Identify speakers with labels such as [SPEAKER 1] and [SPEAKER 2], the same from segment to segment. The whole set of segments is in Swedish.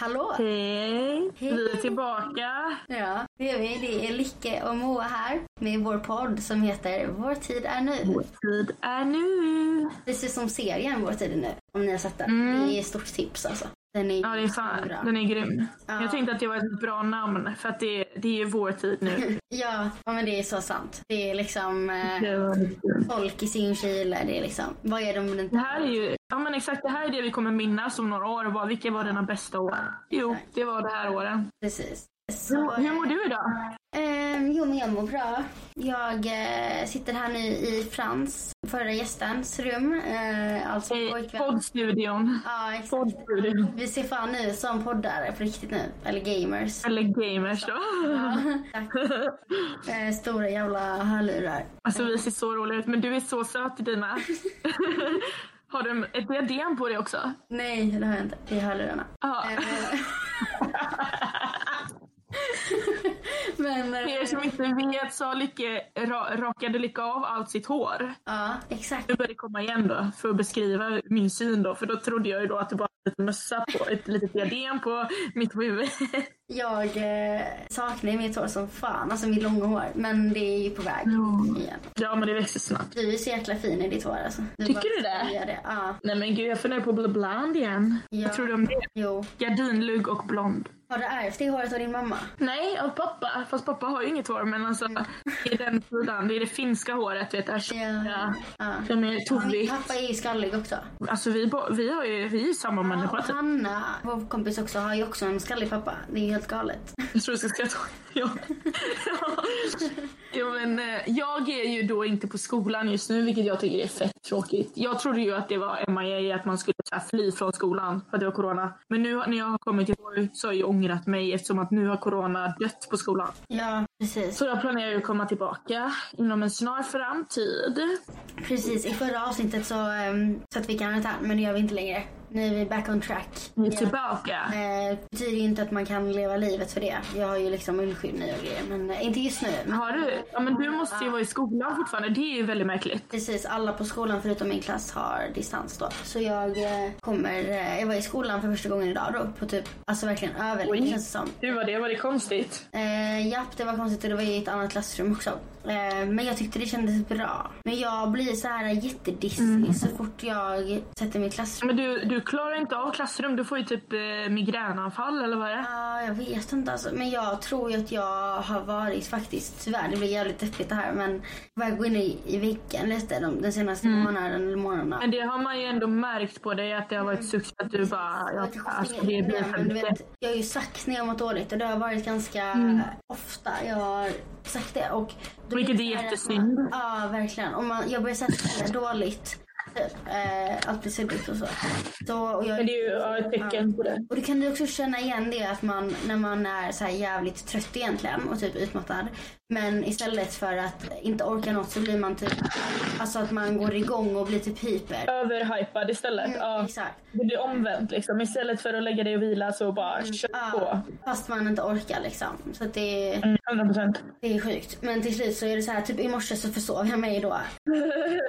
[SPEAKER 1] Hallå!
[SPEAKER 2] Mm. Hej!
[SPEAKER 1] Hej.
[SPEAKER 2] Vi är tillbaka.
[SPEAKER 1] Ja, det är vi. Det är Licke och Moa här med vår podd som heter Vår tid är nu.
[SPEAKER 2] Vår tid är nu.
[SPEAKER 1] Det ser ut som serien Vår tid är nu, om ni har sett den.
[SPEAKER 2] Mm.
[SPEAKER 1] Det är ett stort tips alltså. Den är,
[SPEAKER 2] Ja, det är fan.
[SPEAKER 1] bra.
[SPEAKER 2] Den är grym.
[SPEAKER 1] Ja.
[SPEAKER 2] Jag tänkte att det var ett bra namn för att det, det är ju vår tid nu.
[SPEAKER 1] Ja, ja, men det är så sant. Det är liksom eh,
[SPEAKER 2] Det var-
[SPEAKER 1] folk i sin kyla. Det är liksom, vad är de
[SPEAKER 2] Det här är ju, ja men exakt, det här är det vi kommer minnas om några år. Vad- Vilka var dina bästa år? Jo, det var det här åren.
[SPEAKER 1] Precis. Så,
[SPEAKER 2] Hur, hur mår du idag?
[SPEAKER 1] Ehm, jo, men jag mår bra. Jag eh, sitter här nu i Frans, förra gästens rum. Eh, alltså
[SPEAKER 2] I
[SPEAKER 1] pojkvän.
[SPEAKER 2] poddstudion.
[SPEAKER 1] Ja, exakt.
[SPEAKER 2] Poddstudion.
[SPEAKER 1] Vi ser fan ut som poddare på riktigt nu. Eller gamers.
[SPEAKER 2] Eller gamers då.
[SPEAKER 1] Ja, tack. Eh, Stora jävla hörlurar.
[SPEAKER 2] Alltså vi ser så roliga ut, men du är så söt Dina. Har du ett diadem på dig också?
[SPEAKER 1] Nej, det har jag inte. Det är hörlurarna.
[SPEAKER 2] Ja.
[SPEAKER 1] Eh, Men... eh,
[SPEAKER 2] För er som inte vet så har Lycke, ra, rakade Lycka av allt sitt hår.
[SPEAKER 1] Ja, exakt.
[SPEAKER 2] Nu börjar det komma igen då, för att beskriva min syn då. För då trodde jag ju då att det bara var en mössa på, ett litet diadem på mitt huvud.
[SPEAKER 1] Jag eh, saknar ju mitt hår som fan. Alltså mitt långa hår. Men det är ju på väg
[SPEAKER 2] Ja.
[SPEAKER 1] igen.
[SPEAKER 2] Ja men det växer snabbt.
[SPEAKER 1] Du är så jäkla fin i ditt hår alltså.
[SPEAKER 2] Tycker
[SPEAKER 1] bara
[SPEAKER 2] du det?
[SPEAKER 1] skojar det? Ja.
[SPEAKER 2] Nej men gud jag funderar på att bli blond igen.
[SPEAKER 1] Ja.
[SPEAKER 2] Vad tror du om det?
[SPEAKER 1] Jo.
[SPEAKER 2] Gardinlugg och blond.
[SPEAKER 1] Har du ärvt det håret av din mamma?
[SPEAKER 2] Nej, av pappa. Fast pappa har ju inget hår men alltså det är den sidan. Det är det finska håret vet du.
[SPEAKER 1] Mm. Ja.
[SPEAKER 2] Ja.
[SPEAKER 1] ja.
[SPEAKER 2] De är
[SPEAKER 1] Min
[SPEAKER 2] tovigt.
[SPEAKER 1] pappa är ju skallig också.
[SPEAKER 2] Alltså vi, bo- vi, har ju, vi är ju samma
[SPEAKER 1] Ja,
[SPEAKER 2] människa
[SPEAKER 1] och
[SPEAKER 2] typ.
[SPEAKER 1] Hanna, vår kompis också, har ju också en skallig pappa. Det är ju helt galet.
[SPEAKER 2] Jag tror du ska skratta. Ja. ja, men, eh, jag är ju då inte på skolan just nu, vilket jag tycker är fett tråkigt. Jag trodde ju att det var MIA, att man skulle så här, fly från skolan för att det var corona. Men nu när jag har kommit till Göteborg så har jag ju ångrat mig eftersom att nu har corona dött på skolan.
[SPEAKER 1] Ja, precis.
[SPEAKER 2] Så jag planerar ju att komma tillbaka inom en snar framtid.
[SPEAKER 1] Precis, i förra avsnittet så um, satte vi karantän, men det gör vi inte längre. Nu är vi back on track.
[SPEAKER 2] Vi är
[SPEAKER 1] Ja.
[SPEAKER 2] tillbaka.
[SPEAKER 1] Eh, betyder ju inte att man kan leva livet för det. Jag har ju liksom munskydd nu och grejer, men eh, inte just nu. Men
[SPEAKER 2] Har du? Ja, men du måste ju vara i skolan fortfarande. Det är ju väldigt märkligt.
[SPEAKER 1] precis, alla på skolan förutom min klass har distans då. Så jag eh, kommer, eh, jag var i skolan för första gången idag då, på typ, alltså verkligen överlänge
[SPEAKER 2] Oj.
[SPEAKER 1] känns det som.
[SPEAKER 2] Hur var det? Var det konstigt?
[SPEAKER 1] Eh, japp, det var konstigt och det var i ett annat klassrum också. Eh, men jag tyckte det kändes bra. Men jag blir så här jättedissig så fort jag sätter mig i klassrum.
[SPEAKER 2] Men du, du klarar inte av klassrum. Du får ju typ eh, migränanfall eller vad är det
[SPEAKER 1] Ja, jag vet inte alltså. Men jag tror ju att jag har varit faktiskt, tyvärr det blir jävligt deppigt det här men jag börjar gå in i, i väggen lite de, den senaste månaden eller månaderna.
[SPEAKER 2] Men det har man ju ändå märkt på dig att det har varit succé. Att du bara,
[SPEAKER 1] Jag
[SPEAKER 2] ja,
[SPEAKER 1] vet inte,
[SPEAKER 2] alltså det blir
[SPEAKER 1] men du
[SPEAKER 2] helvete.
[SPEAKER 1] vet, jag har ju sagt när jag har mått dåligt och det har varit ganska ofta jag har sagt det. Och då
[SPEAKER 2] Mm. Vilket
[SPEAKER 1] blir det
[SPEAKER 2] är
[SPEAKER 1] så här att
[SPEAKER 2] jättesynd.
[SPEAKER 1] man- Ja, verkligen. Och man, jag börjar säga att det är dåligt. Typ, eh, allt blir suddigt och så. så och, jag,
[SPEAKER 2] Men det är ju ja, ett tecken på det.
[SPEAKER 1] och du kan ju också känna igen det att man när man är så här jävligt trött egentligen och typ utmattad. Men istället för att inte orka något så blir man typ, alltså att man går igång och blir typ hyper.
[SPEAKER 2] Överhypad istället. Ja.
[SPEAKER 1] Exakt.
[SPEAKER 2] Det blir omvänt liksom. Istället för att lägga dig och vila så bara kör på.
[SPEAKER 1] Mm. Ja, fast man inte orkar liksom. Så att det,
[SPEAKER 2] Mm, 100 procent.
[SPEAKER 1] det är sjukt. Men till slut så är det så här, typ i morse så försov jag mig då.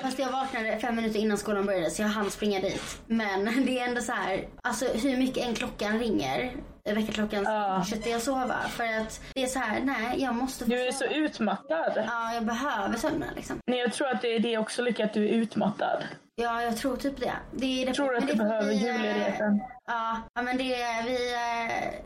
[SPEAKER 1] Fast jag vaknade fem minuter innan skolan började så jag hann springa dit. Men det är ändå så här, alltså hur mycket en klockan ringer, eh, väckarklockan, så
[SPEAKER 2] Ja.
[SPEAKER 1] fortsätter jag sova. För att det är så här, nej jag måste få
[SPEAKER 2] Du är så
[SPEAKER 1] sova.
[SPEAKER 2] utmattad.
[SPEAKER 1] Ja, jag behöver sömnen liksom.
[SPEAKER 2] Nej, jag tror att det är det också, Lycka, att du är utmattad.
[SPEAKER 1] Ja, jag tror typ det. det är det
[SPEAKER 2] Jag tror
[SPEAKER 1] men
[SPEAKER 2] att
[SPEAKER 1] det
[SPEAKER 2] du
[SPEAKER 1] får
[SPEAKER 2] behöver
[SPEAKER 1] vi, eh,
[SPEAKER 2] julledigheten.
[SPEAKER 1] Ja, ja, men det är vi... eh,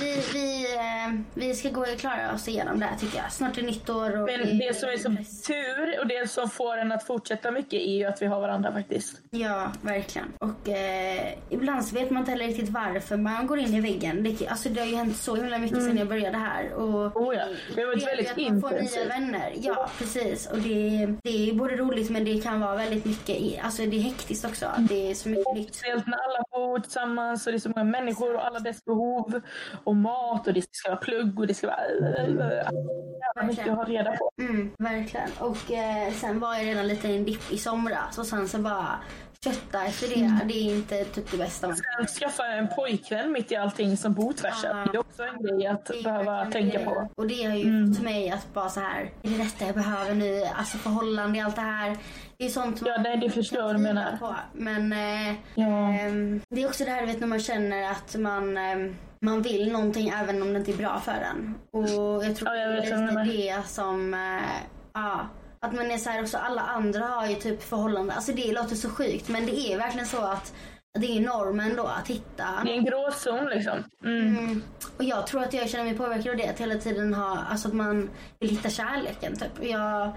[SPEAKER 1] Vi, vi, eh, vi ska gå och klara oss igenom det här tycker jag. Snart är nytt år och...
[SPEAKER 2] Men det som är så tur och det som får en att fortsätta mycket är ju att vi har varandra faktiskt.
[SPEAKER 1] Ja, verkligen. Och eh, ibland så vet man inte heller riktigt varför man går in i väggen. Det, alltså det har ju hänt så himla mycket sedan jag började här. Och
[SPEAKER 2] Oh ja, Mm. det har varit
[SPEAKER 1] gör ju
[SPEAKER 2] väldigt
[SPEAKER 1] att man får nya
[SPEAKER 2] intensivt.
[SPEAKER 1] vänner. Ja, precis. Och det, det är både roligt men det kan vara väldigt mycket... i- Alltså det är hektiskt också. Det är så mycket nytt.
[SPEAKER 2] Speciellt när alla bor tillsammans och det är så många människor och alla dess behov och mat och det ska vara plugg och det ska vara... Jävla mycket att ha reda på.
[SPEAKER 1] Mm, verkligen. Och eh, sen var jag redan lite i en dipp i somras och sen så bara kötta efter det.
[SPEAKER 2] Mm.
[SPEAKER 1] Det är inte typ det bästa. man-
[SPEAKER 2] Sen skaffa en pojkvän mitt i allting som bor tvärs över. Det är också en grej att
[SPEAKER 1] Ah. Det är
[SPEAKER 2] behöva
[SPEAKER 1] verkligen
[SPEAKER 2] tänka
[SPEAKER 1] det.
[SPEAKER 2] på. Mm.
[SPEAKER 1] Och det har ju fått mig att bara så här, är det detta jag behöver nu? Alltså förhållande, allt det här. Det är sånt man
[SPEAKER 2] Ja, nej, det förstår jag vad du menar.
[SPEAKER 1] på. Men eh,
[SPEAKER 2] Ja.
[SPEAKER 1] ehm, det är också det här du vet, när man känner att man, ehm, man vill någonting även om det inte är bra för en. Och jag tror
[SPEAKER 2] Ja, jag
[SPEAKER 1] det
[SPEAKER 2] vet vad
[SPEAKER 1] är
[SPEAKER 2] du
[SPEAKER 1] lite
[SPEAKER 2] menar.
[SPEAKER 1] det som... eh, ja, att man är så här också, alla andra har ju typ förhållande. Alltså det låter så sjukt men det är verkligen så att det är normen då att hitta
[SPEAKER 2] Det är en grå zon liksom. Mm.
[SPEAKER 1] Mm. Och jag tror att jag känner mig påverkad av det. Att hela tiden ha, alltså att man vill hitta kärleken typ. Och Jag,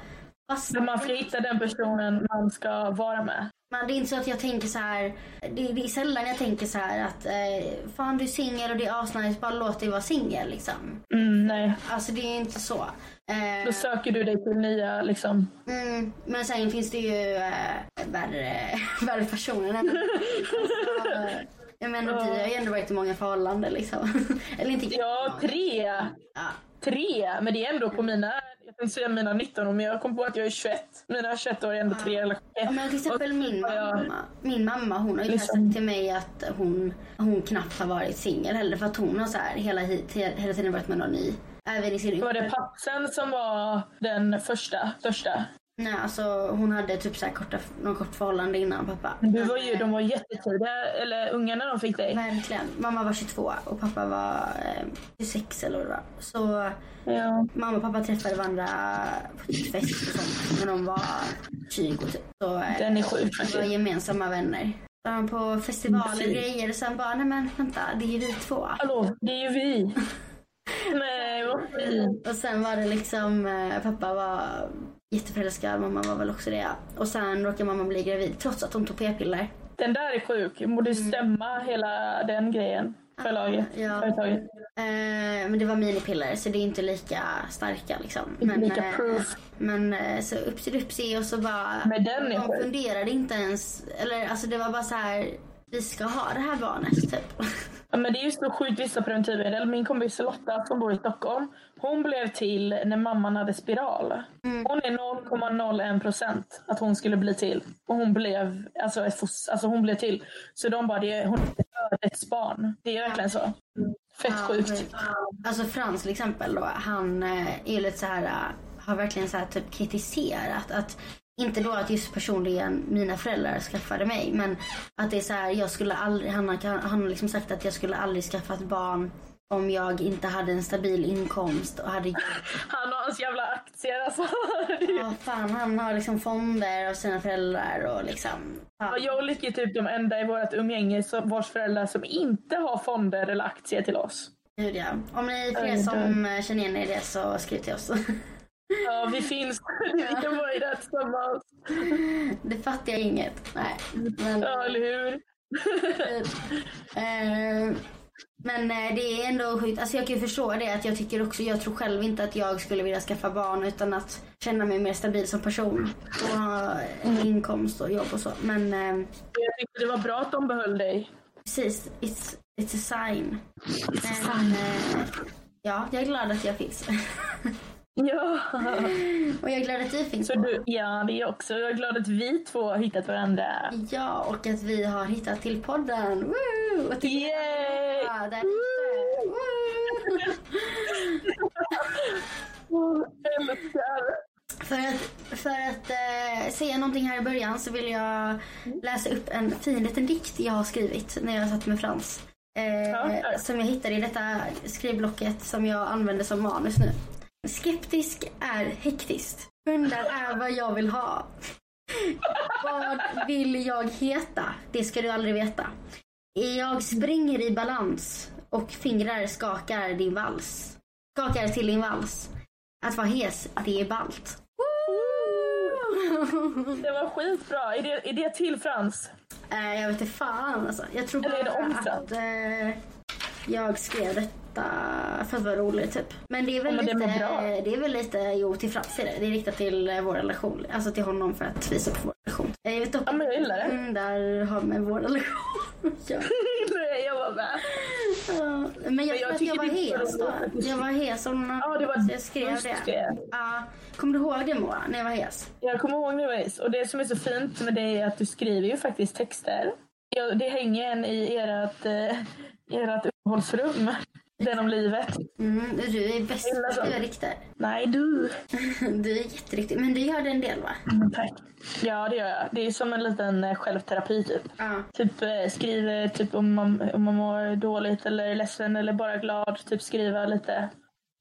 [SPEAKER 1] fast,
[SPEAKER 2] Men man får hitta den personen man ska vara med.
[SPEAKER 1] man, det är inte så att jag tänker så här. Det, det är sällan jag tänker så här att eh, fan du är singel och det är asnice, bara låt dig vara singel liksom.
[SPEAKER 2] Mm, nej.
[SPEAKER 1] Alltså det är ju inte så. Eh,
[SPEAKER 2] Då söker du dig till nya liksom.
[SPEAKER 1] mm, men sen finns det ju eh, värre, värre personer. än- Alltså, jag menar vi har ju ändå varit i många förhållanden liksom. Eller inte
[SPEAKER 2] Ja, tre.
[SPEAKER 1] Ja.
[SPEAKER 2] Tre. Men det är ändå på mina... Jag tänkte säga mina 19 år, men jag kom på att jag är 21. Mina 21 år är ändå tre
[SPEAKER 1] Ja,
[SPEAKER 2] relationer.
[SPEAKER 1] men till exempel min
[SPEAKER 2] Och- ja.
[SPEAKER 1] mamma, min mamma hon har ju
[SPEAKER 2] Liksom.
[SPEAKER 1] sagt till mig att hon, hon knappt har varit singel heller för att hon har så här hela, hit- hela tiden varit med någon ny. Även i sin
[SPEAKER 2] Var det pappsen som var den första, största?
[SPEAKER 1] Nej, alltså hon hade typ så här korta, någon kort förhållande innan pappa. Eh,
[SPEAKER 2] Du var ju, de var jättetidiga, eller unga när de fick dig.
[SPEAKER 1] Verkligen. Mamma var 22 och pappa var eh, 26 eller vad det var. Så
[SPEAKER 2] Ja.
[SPEAKER 1] mamma och pappa träffade varandra på typ fest och sånt när de var 20 typ. Så, eh,
[SPEAKER 2] Den är sjuk
[SPEAKER 1] Vi var
[SPEAKER 2] faktiskt.
[SPEAKER 1] gemensamma vänner. Så han på festivaler och
[SPEAKER 2] Fint.
[SPEAKER 1] grejer och sen bara, nej men vänta, det är ju vi två.
[SPEAKER 2] Hallå, det är ju vi. Nej, vad fint.
[SPEAKER 1] Och sen var det liksom, eh, pappa var jätteförälskad, mamma var väl också det. Och sen råkade mamma bli gravid trots att hon tog p-piller.
[SPEAKER 2] Den där är sjuk. Borde stämma hela den grejen. Förlaget.
[SPEAKER 1] Ja.
[SPEAKER 2] Företaget.
[SPEAKER 1] Eh, men det var minipiller så det är inte lika starka liksom. Men,
[SPEAKER 2] lika
[SPEAKER 1] eh,
[SPEAKER 2] proof.
[SPEAKER 1] men eh, så upsi dupsi och så bara.
[SPEAKER 2] Men den är
[SPEAKER 1] de
[SPEAKER 2] sjuk.
[SPEAKER 1] funderade inte ens, eller alltså det var bara så här. vi ska ha det här barnet typ.
[SPEAKER 2] Ja, men det är ju så sjukt vissa preventivmedel. Min kompis Lotta som bor i Stockholm, hon blev till när mamman hade spiral.
[SPEAKER 1] Mm.
[SPEAKER 2] Hon är 0,01 procent att hon skulle bli till. Och hon blev, alltså, ett fos, alltså hon blev till. Så de bara, det är, hon är ödets barn. Det är verkligen så. Fett sjukt.
[SPEAKER 1] Alltså Frans till exempel då, han eh, är ju lite så här, eh, har verkligen så här typ kritiserat att inte då att just personligen mina föräldrar skaffade mig men att det är så här, jag skulle aldrig, han har, han har liksom sagt att jag skulle aldrig skaffa ett barn om jag inte hade en stabil inkomst och hade
[SPEAKER 2] Han och hans jävla aktier alltså.
[SPEAKER 1] ja, fan, han har liksom fonder av sina föräldrar och liksom.
[SPEAKER 2] Ja,
[SPEAKER 1] Ja.
[SPEAKER 2] Jag och Lykke är typ de enda i vårt umgänge som, vars föräldrar som inte har fonder eller aktier till oss.
[SPEAKER 1] Gud, ja. Om ni är fler
[SPEAKER 2] Oj,
[SPEAKER 1] som eh, känner igen er i det så skriv till oss.
[SPEAKER 2] Ja, vi finns. Vi kan vara i det här tillsammans.
[SPEAKER 1] det fattar jag inget. Nej. Men,
[SPEAKER 2] Ja, eller hur?
[SPEAKER 1] Eh, men eh, det är ändå sjukt. Alltså jag kan ju förstå det. Att jag tycker också, jag tror själv inte att jag skulle vilja skaffa barn utan att känna mig mer stabil som person. Och ha en inkomst och jobb och så. Men eh,
[SPEAKER 2] Jag tyckte det var bra att de behöll dig.
[SPEAKER 1] precis, it's, it's a sign. Men, eh, ja, jag är glad att jag finns.
[SPEAKER 2] Ja.
[SPEAKER 1] och jag är glad att du finns.
[SPEAKER 2] Så du, ja, det är jag också. Jag är glad att vi två har hittat varandra.
[SPEAKER 1] Ja, och att vi har hittat till podden. Woo! Och till
[SPEAKER 2] Yay!
[SPEAKER 1] Ja, där ute. Woo!
[SPEAKER 2] Jag älskar.
[SPEAKER 1] För att, för att eh, säga någonting här i början så vill jag läsa upp en fin liten dikt jag har skrivit när jag satt med Frans. Eh,
[SPEAKER 2] Ja, tack.
[SPEAKER 1] Som jag hittade i detta skrivblocket som jag använder som manus nu. Skeptisk är hektiskt. Hundar är vad jag vill ha. Vad vill jag heta? Det ska du aldrig veta. Jag springer i balans och fingrar skakar din vals. Skakar till din vals. Att vara hes, det är ballt.
[SPEAKER 2] Det var skitbra. Är det, är det till Frans?
[SPEAKER 1] Eh, jag vet inte fan alltså. Jag tror
[SPEAKER 2] Eller är det
[SPEAKER 1] bara
[SPEAKER 2] omsatt?
[SPEAKER 1] att eh, jag skrev detta för att vara rolig typ. Men det är väl
[SPEAKER 2] Ja, men det
[SPEAKER 1] lite,
[SPEAKER 2] är väl bra.
[SPEAKER 1] eh, det är väl lite, jo till Frans är det. Det är riktat till eh, vår relation. Alltså till honom för att visa på vår relation. Eh, Jag vet dock
[SPEAKER 2] Ja, men jag gillar det.
[SPEAKER 1] hundar har med vår relation Ja.
[SPEAKER 2] Nej, jag var med.
[SPEAKER 1] Ja, Men jag
[SPEAKER 2] jag
[SPEAKER 1] tror att
[SPEAKER 2] tycker
[SPEAKER 1] jag var
[SPEAKER 2] det är
[SPEAKER 1] hes då.
[SPEAKER 2] bra.
[SPEAKER 1] Jag var hes och någon
[SPEAKER 2] Ja, det var-
[SPEAKER 1] jag skrev
[SPEAKER 2] just
[SPEAKER 1] det.
[SPEAKER 2] det.
[SPEAKER 1] Ja. Kommer du ihåg det Moa, när jag var hes?
[SPEAKER 2] Jag kommer ihåg nu Ace. och det som är så fint med dig är att du skriver ju faktiskt texter. Ja, det hänger en i ert, eh, ert uppehållsrum. Den om livet.
[SPEAKER 1] Mm, du är bäst på
[SPEAKER 2] Gillar
[SPEAKER 1] att
[SPEAKER 2] sånt.
[SPEAKER 1] skriva dikter.
[SPEAKER 2] Nej du.
[SPEAKER 1] Du är jätteduktig. Men du gör det en del va?
[SPEAKER 2] Mm, Tack. Ja det gör jag. Det är som en liten eh, självterapi typ.
[SPEAKER 1] Ja.
[SPEAKER 2] Typ eh, skriver typ om man, om man mår dåligt eller är ledsen eller bara glad. Typ skriva lite.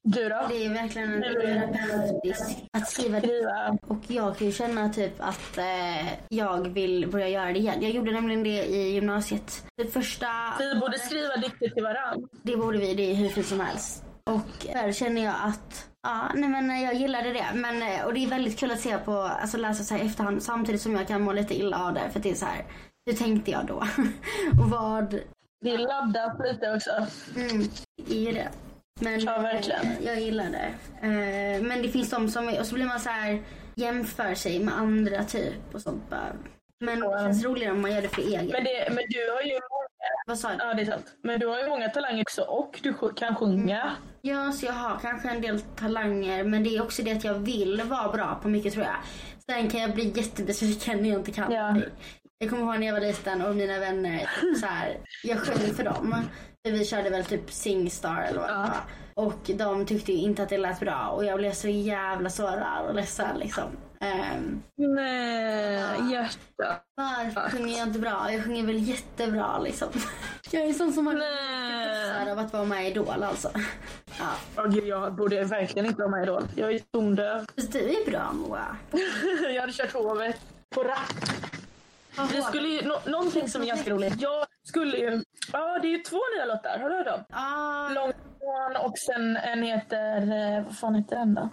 [SPEAKER 2] Du då?
[SPEAKER 1] Det är verkligen en terapeutisk att skriva det.
[SPEAKER 2] Skriva.
[SPEAKER 1] Och jag kan ju känna typ att eh, jag vill börja göra det igen. Jag gjorde nämligen det i gymnasiet. Det första...
[SPEAKER 2] Vi borde skriva dikter till varandra.
[SPEAKER 1] Det borde vi, det är hur fint som helst. Och där känner jag att, ja, nej men eh, jag gillade det. Men, eh, och det är väldigt kul att se på, alltså läsa så här i efterhand samtidigt som jag kan må lite illa av det. För att det är så här, hur tänkte jag då? och vad,
[SPEAKER 2] Det är laddat lite också.
[SPEAKER 1] mm, det är ju det. Men
[SPEAKER 2] Ja, verkligen.
[SPEAKER 1] eh, jag gillar det. Eh, men det finns de som, och så blir man så här jämför sig med andra typ och sånt bara. Men det känns roligare om man gör det för egen.
[SPEAKER 2] Men, det, men du har ju
[SPEAKER 1] Vad sa du?
[SPEAKER 2] Ja, det är sant. Men du har ju många talanger också och du sj- kan sjunga.
[SPEAKER 1] Ja, så jag har kanske en del talanger men det är också det att jag vill vara bra på mycket tror jag. Sen kan jag bli jättebesviken när jag inte kan.
[SPEAKER 2] Ja.
[SPEAKER 1] Jag kommer ihåg när jag var liten och mina vänner, så här, jag sjöng för dem. För Vi körde väl typ Singstar eller vad det
[SPEAKER 2] Ja.
[SPEAKER 1] var. Och de tyckte ju inte att det lät bra och jag blev så jävla sårad och ledsen liksom. Ehm,
[SPEAKER 2] Mm. Nej, hjärta.
[SPEAKER 1] varför sjunger jag inte bra? Jag sjunger väl jättebra liksom. Jag är sån som man
[SPEAKER 2] Nej.
[SPEAKER 1] av att vara med i Idol alltså. Ja.
[SPEAKER 2] Oh, gud, jag borde verkligen inte vara med i Idol. Jag är ju tondöv.
[SPEAKER 1] Fast du är bra Moa.
[SPEAKER 2] jag hade kört hovet på rapp.
[SPEAKER 1] Vad
[SPEAKER 2] Vi
[SPEAKER 1] hårt.
[SPEAKER 2] skulle ju, nå- någonting som är ganska roligt. Jag skulle ju... Ja, det är ju två nya låtar. Har du hört dem?
[SPEAKER 1] Ah,
[SPEAKER 2] Långtgående och sen en heter... eh, Vad fan heter den då?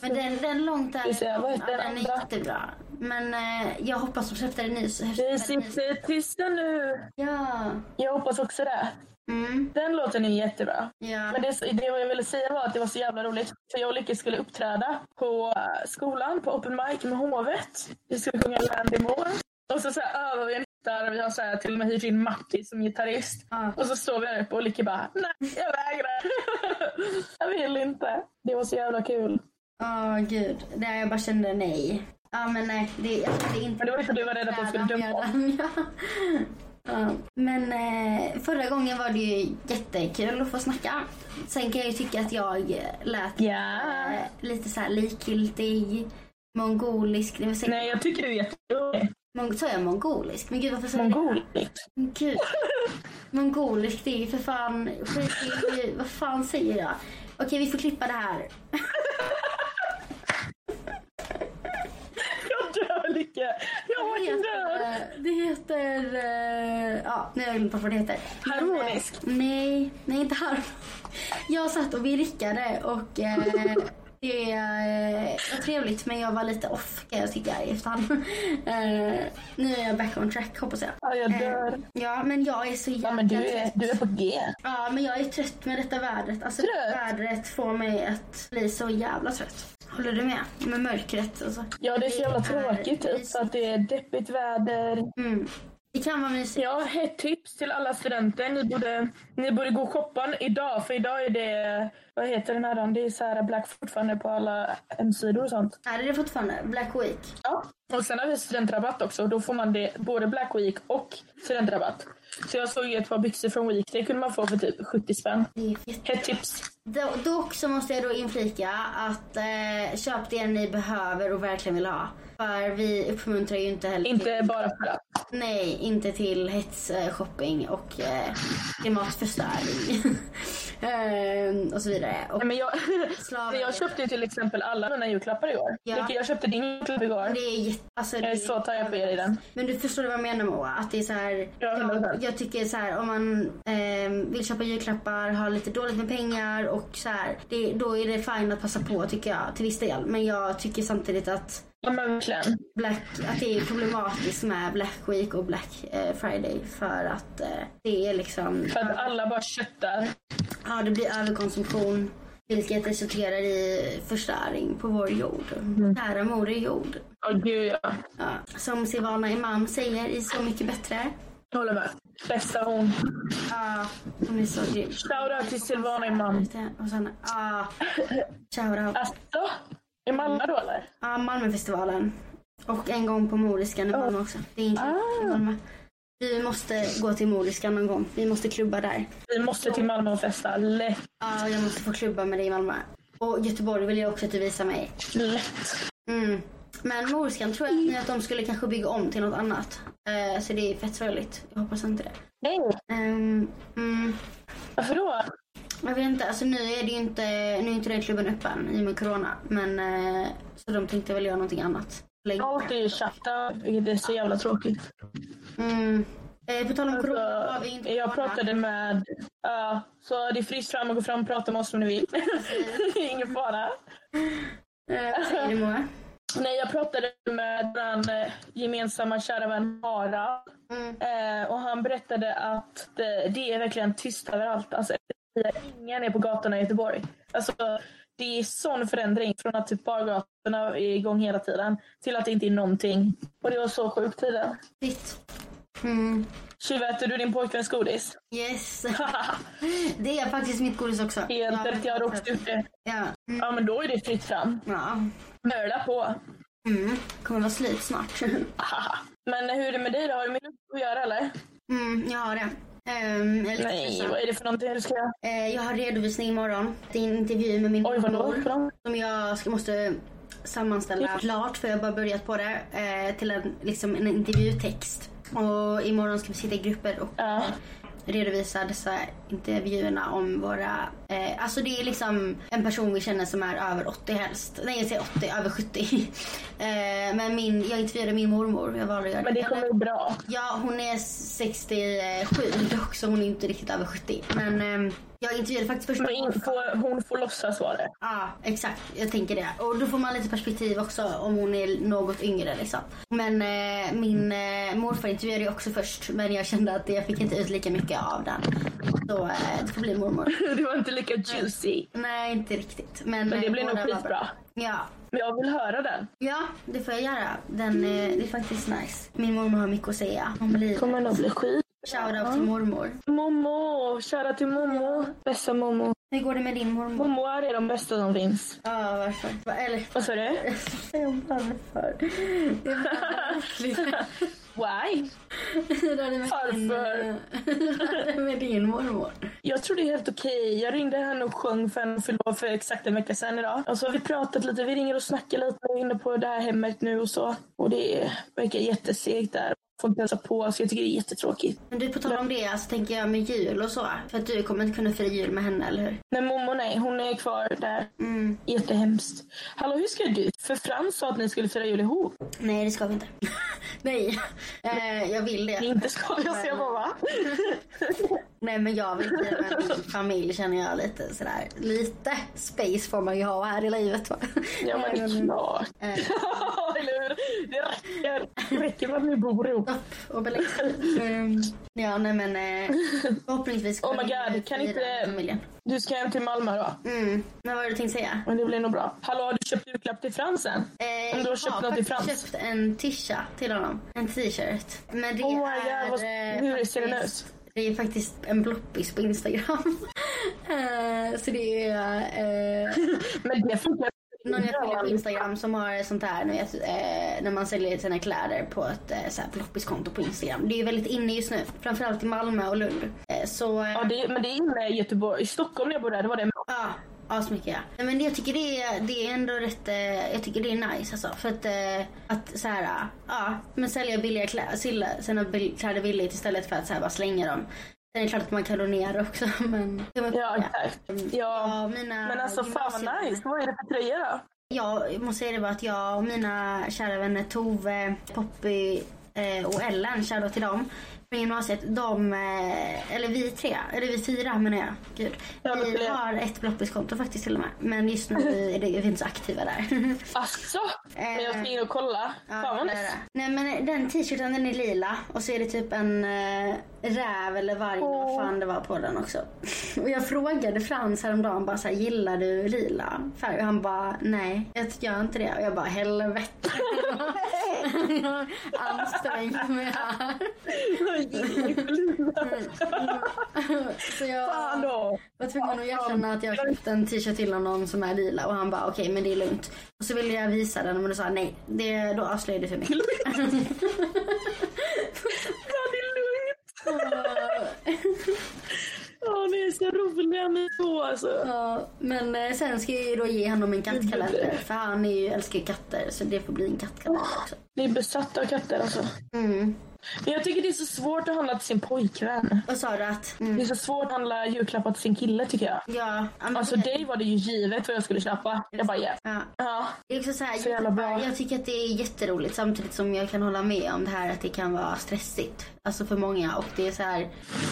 [SPEAKER 1] men den, den långt där,
[SPEAKER 2] Just det, vad
[SPEAKER 1] ja,
[SPEAKER 2] heter
[SPEAKER 1] den är
[SPEAKER 2] andra?
[SPEAKER 1] jättebra. Men eh, jag hoppas de släppte den ny. så-
[SPEAKER 2] Vi sitter tysta nu.
[SPEAKER 1] Ja.
[SPEAKER 2] Jag hoppas också det.
[SPEAKER 1] Mm,
[SPEAKER 2] Den låten är jättebra.
[SPEAKER 1] ja.
[SPEAKER 2] Men det, det jag ville säga var att det var så jävla roligt. För jag och Lykke skulle uppträda på eh, skolan, på open mic med hovet. Vi skulle sjunga Land in Moore. Och så, så här, övar vi en gitarr och vi har så här, till och med hyrt in Matti som gitarrist.
[SPEAKER 1] Ja.
[SPEAKER 2] Och så står vi där uppe och Lykke bara nej, jag vägrar. jag vill inte. Det var så jävla kul.
[SPEAKER 1] Åh gud. Nej, jag bara kände nej. Ja men nej. Det, jag det är inte
[SPEAKER 2] Men det var inte du var rädd att de skulle döma oss.
[SPEAKER 1] döma ja. ja. Men eh, förra gången var det ju jättekul att få snacka. Sen kan jag ju tycka att jag lät
[SPEAKER 2] Ja.
[SPEAKER 1] eh, lite så här likgiltig, mongolisk. Det var säkert,
[SPEAKER 2] Nej, jag tycker du är jätterolig.
[SPEAKER 1] mong- sa jag mongolisk? Men gud varför säger jag
[SPEAKER 2] Mongoligt.
[SPEAKER 1] Gud. Mongolisk, det är ju för fan... skit i- Vad fan säger jag? Okej, vi får klippa det här.
[SPEAKER 2] Jag dör Lykke. Jag
[SPEAKER 1] Det
[SPEAKER 2] dör.
[SPEAKER 1] heter... Det heter eh, ja, nu har jag glömt bort vad det heter. Men, eh,
[SPEAKER 2] Harmonisk.
[SPEAKER 1] Nej, nej inte harmonisk. Jag satt och vi rickade och eh, det eh, var trevligt men jag var lite off kan jag tycka i efterhand. Eh, nu är jag back on track hoppas jag.
[SPEAKER 2] Ja, jag dör.
[SPEAKER 1] Eh, ja, men jag är så jävla
[SPEAKER 2] Ja, men du är,
[SPEAKER 1] trött.
[SPEAKER 2] du är på G.
[SPEAKER 1] Ja, men jag är trött med detta vädret. Alltså,
[SPEAKER 2] Trött?
[SPEAKER 1] vädret får mig att bli så jävla trött. Håller du med? Med mörkret alltså.
[SPEAKER 2] Ja, det är så jävla
[SPEAKER 1] är
[SPEAKER 2] tråkigt typ,
[SPEAKER 1] mysigt.
[SPEAKER 2] så att det är deppigt väder.
[SPEAKER 1] Mm. Det kan vara mysigt.
[SPEAKER 2] Jag har ett tips till alla studenter. Ni borde, ni borde gå och shoppa idag, för idag är det... Vad heter den här dagen? Det är så här black fortfarande på alla hemsidor och sånt.
[SPEAKER 1] Är det fortfarande Black Week?
[SPEAKER 2] Ja. Och sen har vi studentrabatt också. Då får man det både black week och studentrabatt. Så jag såg ju ett par byxor från week. Det kunde man få för typ 70 spänn.
[SPEAKER 1] Det är ju jätte-
[SPEAKER 2] Hett tips.
[SPEAKER 1] Do- Dock så måste jag då inflika att eh, köp det ni behöver och verkligen vill ha. För vi uppmuntrar ju inte heller
[SPEAKER 2] Inte
[SPEAKER 1] till,
[SPEAKER 2] bara för att.
[SPEAKER 1] Nej, inte till hets, eh, shopping och eh, klimatförstöring. eh, och så vidare. Och
[SPEAKER 2] Nej, men jag,
[SPEAKER 1] Slavar.
[SPEAKER 2] jag köpte ju till exempel alla mina julklappar igår.
[SPEAKER 1] Ja.
[SPEAKER 2] Lycka, Jag köpte din julklapp igår.
[SPEAKER 1] det är jätte... Alltså,
[SPEAKER 2] Jag är
[SPEAKER 1] det-
[SPEAKER 2] så taggad på er i den.
[SPEAKER 1] Men du förstår vad jag menar Moa? Att det är så här,
[SPEAKER 2] Ja,
[SPEAKER 1] jag,
[SPEAKER 2] 100%.
[SPEAKER 1] jag tycker så här, om man ehm, vill köpa julklappar, har lite dåligt med pengar och så här, det, då är det fint att passa på tycker jag till viss del. Men jag tycker samtidigt att,
[SPEAKER 2] Ja, men verkligen.
[SPEAKER 1] Black, att det är problematiskt med Black Week och Black eh, Friday för att eh, det är liksom,
[SPEAKER 2] För att alla bara köttar.
[SPEAKER 1] ja det blir överkonsumtion. Vilket resulterar i förstöring på vår jord.
[SPEAKER 2] Mm.
[SPEAKER 1] Kära moder jord.
[SPEAKER 2] Åh gud ja.
[SPEAKER 1] Ja. Som Silvana Imam säger i Så mycket bättre.
[SPEAKER 2] Jag håller med. Bästa hon.
[SPEAKER 1] Ja, hon är så grym.
[SPEAKER 2] Shoutout till Silvana Imam.
[SPEAKER 1] Och sen, ja. Shoutout. Ja,
[SPEAKER 2] Alltså, är Malmö då eller?
[SPEAKER 1] Malmöfestivalen. Och en gång på Moriskan i Malmö också. Det är inte
[SPEAKER 2] Ah.
[SPEAKER 1] i Malmö. Vi måste gå till Moriskan någon gång. Vi måste klubba där.
[SPEAKER 2] Vi måste till Malmö och festa. Lätt.
[SPEAKER 1] Ja, jag måste få klubba med dig i Malmö. Och Göteborg vill jag också att du visar mig.
[SPEAKER 2] Lätt.
[SPEAKER 1] Mm. Men Moriskan tror jag nu att de skulle kanske bygga om till något annat. Eh, så det är fett sorgligt. Jag hoppas inte det.
[SPEAKER 2] Nej.
[SPEAKER 1] Ehm, mm,
[SPEAKER 2] Varför då?
[SPEAKER 1] jag vet inte. Alltså, nu är det ju inte, nu är inte den klubben öppen i och med corona. Men, eh, så de tänkte väl göra någonting annat. Länge.
[SPEAKER 2] Allt är ju chatta, vilket är så jävla tråkigt.
[SPEAKER 1] Mm. Eh, på tal om
[SPEAKER 2] Alltså,
[SPEAKER 1] corona har vi inte
[SPEAKER 2] jag
[SPEAKER 1] corona.
[SPEAKER 2] pratade med... ja, så det är fritt fram att gå fram och prata med oss om ni vill. Ingen fara.
[SPEAKER 1] Eh, vad säger du Moa?
[SPEAKER 2] Nej, jag pratade med vår eh, gemensamma kära vän Harald.
[SPEAKER 1] Mm.
[SPEAKER 2] Eh, och han berättade att det, det är verkligen tyst överallt. Alltså, ingen är på gatorna i Göteborg. Alltså, det är sån förändring från att typ bargatorna är igång hela tiden till att det inte är någonting. Och det var så sjukt tiden.
[SPEAKER 1] Shit. Mm.
[SPEAKER 2] Tjuväter du din pojkväns godis?
[SPEAKER 1] Yes. det är faktiskt mitt godis också.
[SPEAKER 2] Helt rätt, jag har också gjort det.
[SPEAKER 1] Ja. Mm.
[SPEAKER 2] Ja, men då är det fritt fram.
[SPEAKER 1] ja.
[SPEAKER 2] Möla på.
[SPEAKER 1] Mm. Kommer vara slut snart.
[SPEAKER 2] Men hur är det med dig då? Har du mycket att göra eller?
[SPEAKER 1] Mm, jag har det. Ehm, jag, är lite
[SPEAKER 2] Nej,
[SPEAKER 1] stressad.
[SPEAKER 2] vad är det för någonting du ska göra?
[SPEAKER 1] Eh, jag har redovisning imorgon. Det är en intervju med min
[SPEAKER 2] Oj, vad långt
[SPEAKER 1] mor
[SPEAKER 2] för dem.
[SPEAKER 1] som jag ska, måste
[SPEAKER 2] Det
[SPEAKER 1] sammanställa
[SPEAKER 2] är
[SPEAKER 1] klart för jag har bara börjat på det eh, till en, liksom en intervjutext. Och imorgon ska vi sitta i grupper och
[SPEAKER 2] Ja.
[SPEAKER 1] redovisa dessa intervjuerna om våra... Eh, alltså det är liksom en person vi känner som är över 80 helst. Nej jag säger 80, över 70. eh, men min, jag intervjuade min mormor. Jag valde att göra
[SPEAKER 2] Men det
[SPEAKER 1] Eller-
[SPEAKER 2] kommer gå bra.
[SPEAKER 1] Ja, hon är 67 dock, så hon är inte riktigt över 70. Men ehm, jag intervjuade faktiskt första
[SPEAKER 2] Men in- får- hon får låtsas vara det.
[SPEAKER 1] Ja, exakt. Jag tänker det. Och då får man lite perspektiv också om hon är något yngre liksom. Men eh, min eh, morfar intervjuade ju också först men jag kände att jag fick inte ut lika mycket av den. Så eh, det får bli mormor.
[SPEAKER 2] Det var inte lika juicy.
[SPEAKER 1] Nej, inte riktigt. Men,
[SPEAKER 2] Men det
[SPEAKER 1] eh,
[SPEAKER 2] blir nog
[SPEAKER 1] båda var
[SPEAKER 2] skitbra.
[SPEAKER 1] Ja.
[SPEAKER 2] Men jag vill höra den.
[SPEAKER 1] ja, det får jag göra. Den, eh, det är faktiskt nice. Min mormor har mycket att säga om livet.
[SPEAKER 2] kommer nog bli skit.
[SPEAKER 1] Shoutout till mormor.
[SPEAKER 2] Mommo! Kära till mommo. Bästa mommo.
[SPEAKER 1] Hur går det med din mormor?
[SPEAKER 2] Mommoar är de bästa som finns.
[SPEAKER 1] Ja, varför? Va- Eller
[SPEAKER 2] Vad sa du?
[SPEAKER 1] säger hon varför? Det är bara äckligt.
[SPEAKER 2] Why?
[SPEAKER 1] Hur är det med
[SPEAKER 2] Varför?
[SPEAKER 1] Din, eh, hur är det med din mormor?
[SPEAKER 2] Jag tror det är helt okej. Jag ringde henne och sjöng för henne förlov för exakt en vecka sedan idag. Och så har vi pratat lite, vi ringer och snackar lite. Jag är inne på det här hemmet nu och så. Och det verkar jättesegt där. Får inte hälsa på, så jag tycker det är jättetråkigt.
[SPEAKER 1] Men du, på tal om det så tänker jag med jul och så. För att du kommer inte kunna fira jul med henne, eller hur?
[SPEAKER 2] Men mommo nej, hon är kvar där.
[SPEAKER 1] Mm.
[SPEAKER 2] Jättehemskt. Hallå, hur ska du? För Frans sa att ni skulle fira jul ihop.
[SPEAKER 1] Nej, det ska vi inte. Nej, eh, jag vill
[SPEAKER 2] Ni
[SPEAKER 1] det.
[SPEAKER 2] inte ska, jag ser bara va?
[SPEAKER 1] Nej, men jag vill fira med min familj känner jag lite sådär. Lite space får man ju ha här i livet va?
[SPEAKER 2] Ja, men det är klart.
[SPEAKER 1] Eh,
[SPEAKER 2] Eller hur? Det räcker. Det räcker med att ni bor ihop.
[SPEAKER 1] Stopp och belägg. Ehm, ja, nej men eh, förhoppningsvis
[SPEAKER 2] Oh my
[SPEAKER 1] kommer vi
[SPEAKER 2] god, kan
[SPEAKER 1] fira
[SPEAKER 2] inte-
[SPEAKER 1] familjen.
[SPEAKER 2] Du ska hem till Malmö då.
[SPEAKER 1] Mm. Men vad var det du tänkte säga?
[SPEAKER 2] Men det blir nog bra. Hallå, har du köpt julklapp till Fransen?
[SPEAKER 1] Eh,
[SPEAKER 2] Om du har köpt något i
[SPEAKER 1] faktiskt
[SPEAKER 2] Frans.
[SPEAKER 1] köpt en tisha till honom. En t-shirt. Men det
[SPEAKER 2] Oh my
[SPEAKER 1] är...
[SPEAKER 2] god, vad-
[SPEAKER 1] eh,
[SPEAKER 2] hur ser den
[SPEAKER 1] faktiskt- Det är faktiskt en bloppis på Instagram. Eh, så det är eh,
[SPEAKER 2] Men det funkar.
[SPEAKER 1] någon jag följer på Instagram som har sånt här nu, vet, eh, när man säljer sina kläder på ett eh, så här bloppiskonto på Instagram. Det är ju väldigt inne just nu. Framförallt i Malmö och Lund. Eh, så... eh,
[SPEAKER 2] Ja, det, men det är inne i Göteborg. I Stockholm när jag bodde där, det var det.
[SPEAKER 1] Ja, asmycket ja. Nej, Men jag tycker det är, det är ändå rätt, eh, jag tycker det är nice alltså. För att, eh, att så här, eh, ja, men sälja billiga kläder, sälja sina bil- kläder billigt istället för att så här, bara slänga dem. Sen är det klart att man kan donera också men...
[SPEAKER 2] Ja, exakt. Ja.
[SPEAKER 1] mina
[SPEAKER 2] Men alltså fan vad
[SPEAKER 1] gymnasievänner-
[SPEAKER 2] nice. Vad är det för tröja då?
[SPEAKER 1] Jag måste säga det bara att jag och mina kära vänner Tove, Poppy eh, och Ellen, shoutout till dem från gymnasiet. De, eh, eller vi tre, eller vi fyra menar jag. Gud.
[SPEAKER 2] Ja, det
[SPEAKER 1] Vi
[SPEAKER 2] blir-
[SPEAKER 1] har ett bloppiskonto faktiskt till och med. Men just nu är det- vi är inte så aktiva där.
[SPEAKER 2] Alltså, men jag ska in och kolla. Fan
[SPEAKER 1] Eh. Ja,
[SPEAKER 2] vad
[SPEAKER 1] det är det.
[SPEAKER 2] nice.
[SPEAKER 1] Nej men den t-shirten den är lila och så är det typ en eh, räv eller varg eller vad
[SPEAKER 2] Åh.
[SPEAKER 1] fan det var på den också. och jag frågade Frans häromdagen bara så här, gillar du lila färg? Och han bara nej jag gör inte det. Och jag bara helvete. Ansträngt mig här. Så
[SPEAKER 2] Fan
[SPEAKER 1] jag
[SPEAKER 2] då!
[SPEAKER 1] var tvungen att erkänna att jag köpte en t-shirt till honom som är lila och han bara okej men det är lugnt. Och så ville jag visa den men då sa han nej, det, då avslöjade du för mycket.
[SPEAKER 2] Ja, det är lugnt. Ja, ni är så roliga ni två alltså.
[SPEAKER 1] Ja, men eh, sen ska jag ju då ge honom en kattkalender för han är ju, älskar ju katter så det får bli en kattkalender också.
[SPEAKER 2] Ni är besatta av katter alltså.
[SPEAKER 1] Ah. Mm.
[SPEAKER 2] Men jag tycker det är så svårt att handla till sin pojkvän.
[SPEAKER 1] Vad sa du att? Mm.
[SPEAKER 2] Det är så svårt att handla julklappar till sin kille tycker jag.
[SPEAKER 1] Ja, ja, men
[SPEAKER 2] Alltså
[SPEAKER 1] det-
[SPEAKER 2] dig var det ju givet vad jag skulle köpa. Jag bara yeah.
[SPEAKER 1] ja.
[SPEAKER 2] Ja.
[SPEAKER 1] Det är också så här,
[SPEAKER 2] Så jävla bra.
[SPEAKER 1] Jag tycker att det är jätteroligt samtidigt som jag kan hålla med om det här att det kan vara stressigt. Alltså för många och det är så här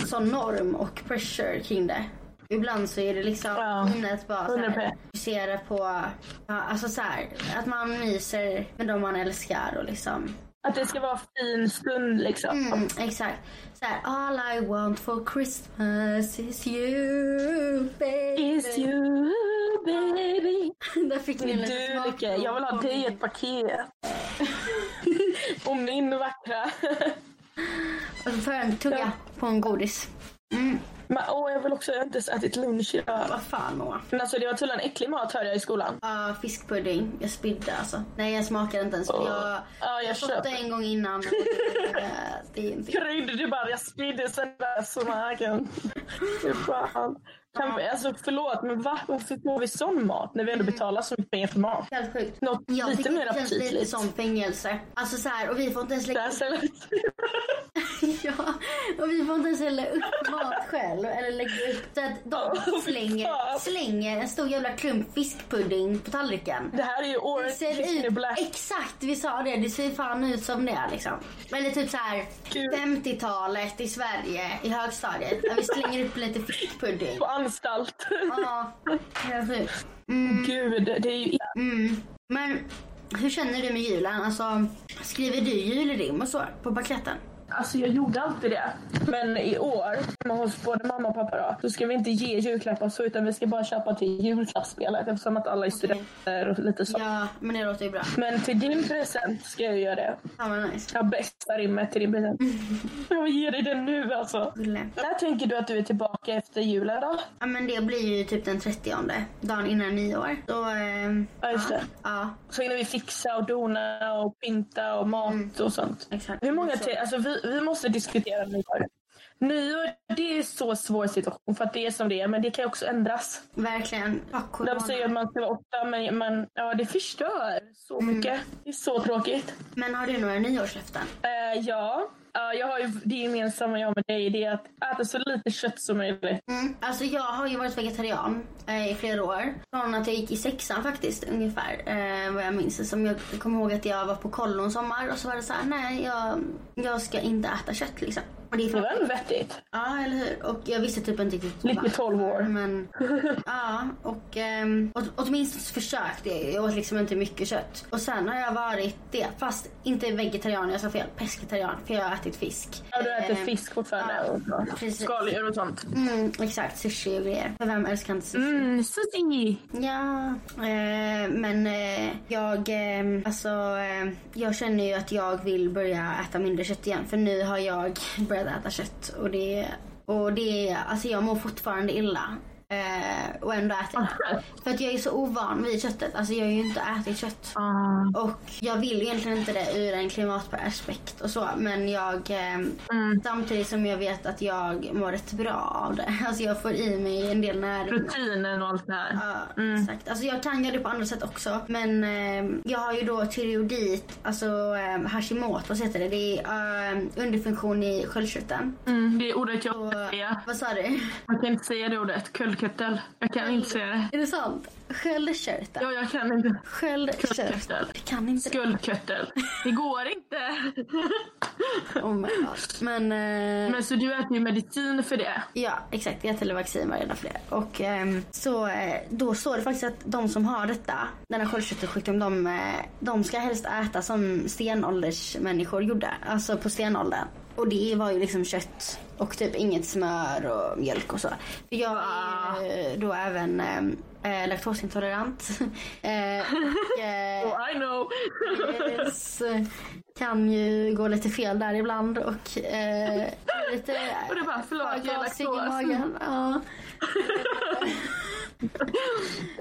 [SPEAKER 1] sån norm och pressure kring det. Ibland så är det liksom
[SPEAKER 2] Ja.
[SPEAKER 1] inne att bara så här,
[SPEAKER 2] 100%.
[SPEAKER 1] fokusera på ja, alltså så här, att man myser med de man älskar och liksom
[SPEAKER 2] Att det ska vara en fin stund liksom.
[SPEAKER 1] Mm, exakt. Så här, all I want for Christmas is you baby.
[SPEAKER 2] It's you baby.
[SPEAKER 1] Där fick ni en liten
[SPEAKER 2] Du
[SPEAKER 1] smak.
[SPEAKER 2] Lycke, jag vill ha dig i ett paket. Och min vackra.
[SPEAKER 1] Och så får jag en tugga på en godis. Mm.
[SPEAKER 2] Men, åh, jag vill också, jag har inte ens ätit lunch idag.
[SPEAKER 1] Vad fan Moa.
[SPEAKER 2] Men alltså det var tydligen äcklig mat hörde jag i skolan.
[SPEAKER 1] Ja, fiskpudding. Jag spydde alltså. Nej, jag smakade inte ens. för Jag,
[SPEAKER 2] Ja, jag
[SPEAKER 1] jag fått det
[SPEAKER 2] köper.
[SPEAKER 1] en gång innan. och det- det är inte...
[SPEAKER 2] krydd. Du bara, jag spydde sen där smaken. Fy fan. Kan vi, alltså förlåt, men va? varför får vi sån mat när vi ändå betalar så mycket pengar för mat?
[SPEAKER 1] Helt sjukt.
[SPEAKER 2] Något
[SPEAKER 1] Jag
[SPEAKER 2] lite
[SPEAKER 1] tycker
[SPEAKER 2] mer
[SPEAKER 1] det Mm. känns lite
[SPEAKER 2] aptitligt.
[SPEAKER 1] som fängelse. Alltså så här, och vi får inte ens lägga
[SPEAKER 2] Där ställer-
[SPEAKER 1] Ja, och vi får inte ens hälla upp mat själv. Eller lägga upp. Så att de
[SPEAKER 2] Åh, fy
[SPEAKER 1] slänger,
[SPEAKER 2] fan.
[SPEAKER 1] slänger en stor jävla klump fiskpudding på tallriken.
[SPEAKER 2] Det här är ju
[SPEAKER 1] Det
[SPEAKER 2] årets
[SPEAKER 1] ser
[SPEAKER 2] Disney
[SPEAKER 1] ut,
[SPEAKER 2] Black.
[SPEAKER 1] exakt vi sa det, det ser fan ut som det liksom. Eller typ så här
[SPEAKER 2] Gud.
[SPEAKER 1] 50-talet i Sverige i högstadiet. Där vi slänger upp lite fiskpudding.
[SPEAKER 2] På anstalt.
[SPEAKER 1] Ja, helt sjukt.
[SPEAKER 2] Gud, det är ju...
[SPEAKER 1] Mm. Men hur känner du med julen? Alltså, skriver du julrim och så på paketten?
[SPEAKER 2] Alltså jag gjorde alltid det. Men i år, hemma hos både mamma och pappa då, så ska vi inte ge julklappar så utan vi ska bara köpa till julklappsspelet eftersom att alla är studenter och lite så.
[SPEAKER 1] Ja, men det låter ju bra.
[SPEAKER 2] Men till din present ska jag göra det.
[SPEAKER 1] Fan vad nice.
[SPEAKER 2] Jag har bästa rimmet till din present. Jag ger dig den nu alltså.
[SPEAKER 1] Gulle.
[SPEAKER 2] När tänker du att du är tillbaka efter julen då?
[SPEAKER 1] Ja men det blir ju typ den 30 dagen innan nyår. Så, ehm,
[SPEAKER 2] Ja, just
[SPEAKER 1] ja,
[SPEAKER 2] det.
[SPEAKER 1] ja,
[SPEAKER 2] Så hinner vi fixa och dona och pynta och mat och sånt.
[SPEAKER 1] Mm. exakt.
[SPEAKER 2] Hur många
[SPEAKER 1] Så-
[SPEAKER 2] till, alltså vi, vi måste diskutera nyår. Nyår, det är så svår situation för att det är som det är men det kan ju också ändras.
[SPEAKER 1] Verkligen. Ja, corona.
[SPEAKER 2] De säger att man ska vara åtta men man, ja, det förstör så
[SPEAKER 1] Mm.
[SPEAKER 2] mycket. Det är så tråkigt.
[SPEAKER 1] Men har du några nyårslöften?
[SPEAKER 2] Eh, ja, Ja, jag har ju det gemensamma jag har med dig det är att äta så lite kött som möjligt.
[SPEAKER 1] Mm. Alltså jag har ju varit vegetarian eh, i flera år. Från att jag gick i sexan faktiskt ungefär. Eh, vad jag minns det som. Jag kommer ihåg att jag var på kollo en sommar och så var det så här: nej jag, jag ska inte äta kött liksom. Och det är
[SPEAKER 2] Det
[SPEAKER 1] för...
[SPEAKER 2] var ändå vettigt.
[SPEAKER 1] Ja eller hur. Och jag visste typ inte riktigt.
[SPEAKER 2] Lite 12 år.
[SPEAKER 1] Men ja, och um, åt, åtminstone så försökte jag ju. Jag åt liksom inte mycket kött. Och sen har jag varit det, fast inte vegetarian, jag sa fel, pescetarian för jag har ätit fisk.
[SPEAKER 2] Ja, du äter
[SPEAKER 1] Eh,
[SPEAKER 2] fisk fortfarande
[SPEAKER 1] ja,
[SPEAKER 2] och så.
[SPEAKER 1] precis.
[SPEAKER 2] skaldjur och sånt.
[SPEAKER 1] Mm, exakt, sushi och grejer. För vem älskar inte sushi?
[SPEAKER 2] Mm, sushi!
[SPEAKER 1] Ja, eh, men eh, jag, eh, alltså, eh, jag känner ju att jag vill börja äta mindre kött igen. För nu har jag börjat äta kött och det, och det, alltså jag mår fortfarande illa. Eh, och ändå äter jag inte. För att jag är så ovan vid köttet. Alltså jag har ju inte ätit kött.
[SPEAKER 2] Ah,
[SPEAKER 1] Och jag vill egentligen inte det ur en klimataspekt och så. Men jag, eh,
[SPEAKER 2] Mm.
[SPEAKER 1] samtidigt som jag vet att jag mår rätt bra av det. Alltså jag får i mig en del näring.
[SPEAKER 2] proteinen och allt det här.
[SPEAKER 1] Ja,
[SPEAKER 2] Mm.
[SPEAKER 1] exakt. Alltså jag kan göra det på andra sätt också. Men ehm, jag har ju då tyreodit, alltså eh, Hashimoto's heter det. Det är ehm, underfunktion i sköldkörteln.
[SPEAKER 2] Mm, det är ordet jag
[SPEAKER 1] Och,
[SPEAKER 2] kan säga.
[SPEAKER 1] Vad sa du?
[SPEAKER 2] Jag kan inte säga det ordet. Köldkörtel. Jag kan inte säga det.
[SPEAKER 1] Är det sant? Sköldkörteln.
[SPEAKER 2] Ja, jag kan inte.
[SPEAKER 1] Sköldkörteln.
[SPEAKER 2] Köldkörtel.
[SPEAKER 1] Jag kan inte det.
[SPEAKER 2] Skuldköttel. Det går inte.
[SPEAKER 1] Oh my God. Men, eh,
[SPEAKER 2] Men så du äter ju medicin för det?
[SPEAKER 1] Ja, exakt. Jag äter vaccin varje dag för det. Och ehm, så, eh, då står det faktiskt att de som har detta, denna sköldkörtelsjukdom, de, eh, de ska helst äta som stenåldersmänniskor gjorde. Alltså på stenåldern. Och det var ju liksom kött och typ inget smör och mjölk och så. För jag är ju då även ehm, eh, laktosintolerant. eh, och, eh,
[SPEAKER 2] Oh, I know!
[SPEAKER 1] Yes. eh, Kan ju gå lite fel där ibland och eh, lite
[SPEAKER 2] Och du bara, förlåt, jag är
[SPEAKER 1] gasig i
[SPEAKER 2] laktos.
[SPEAKER 1] magen. Ja.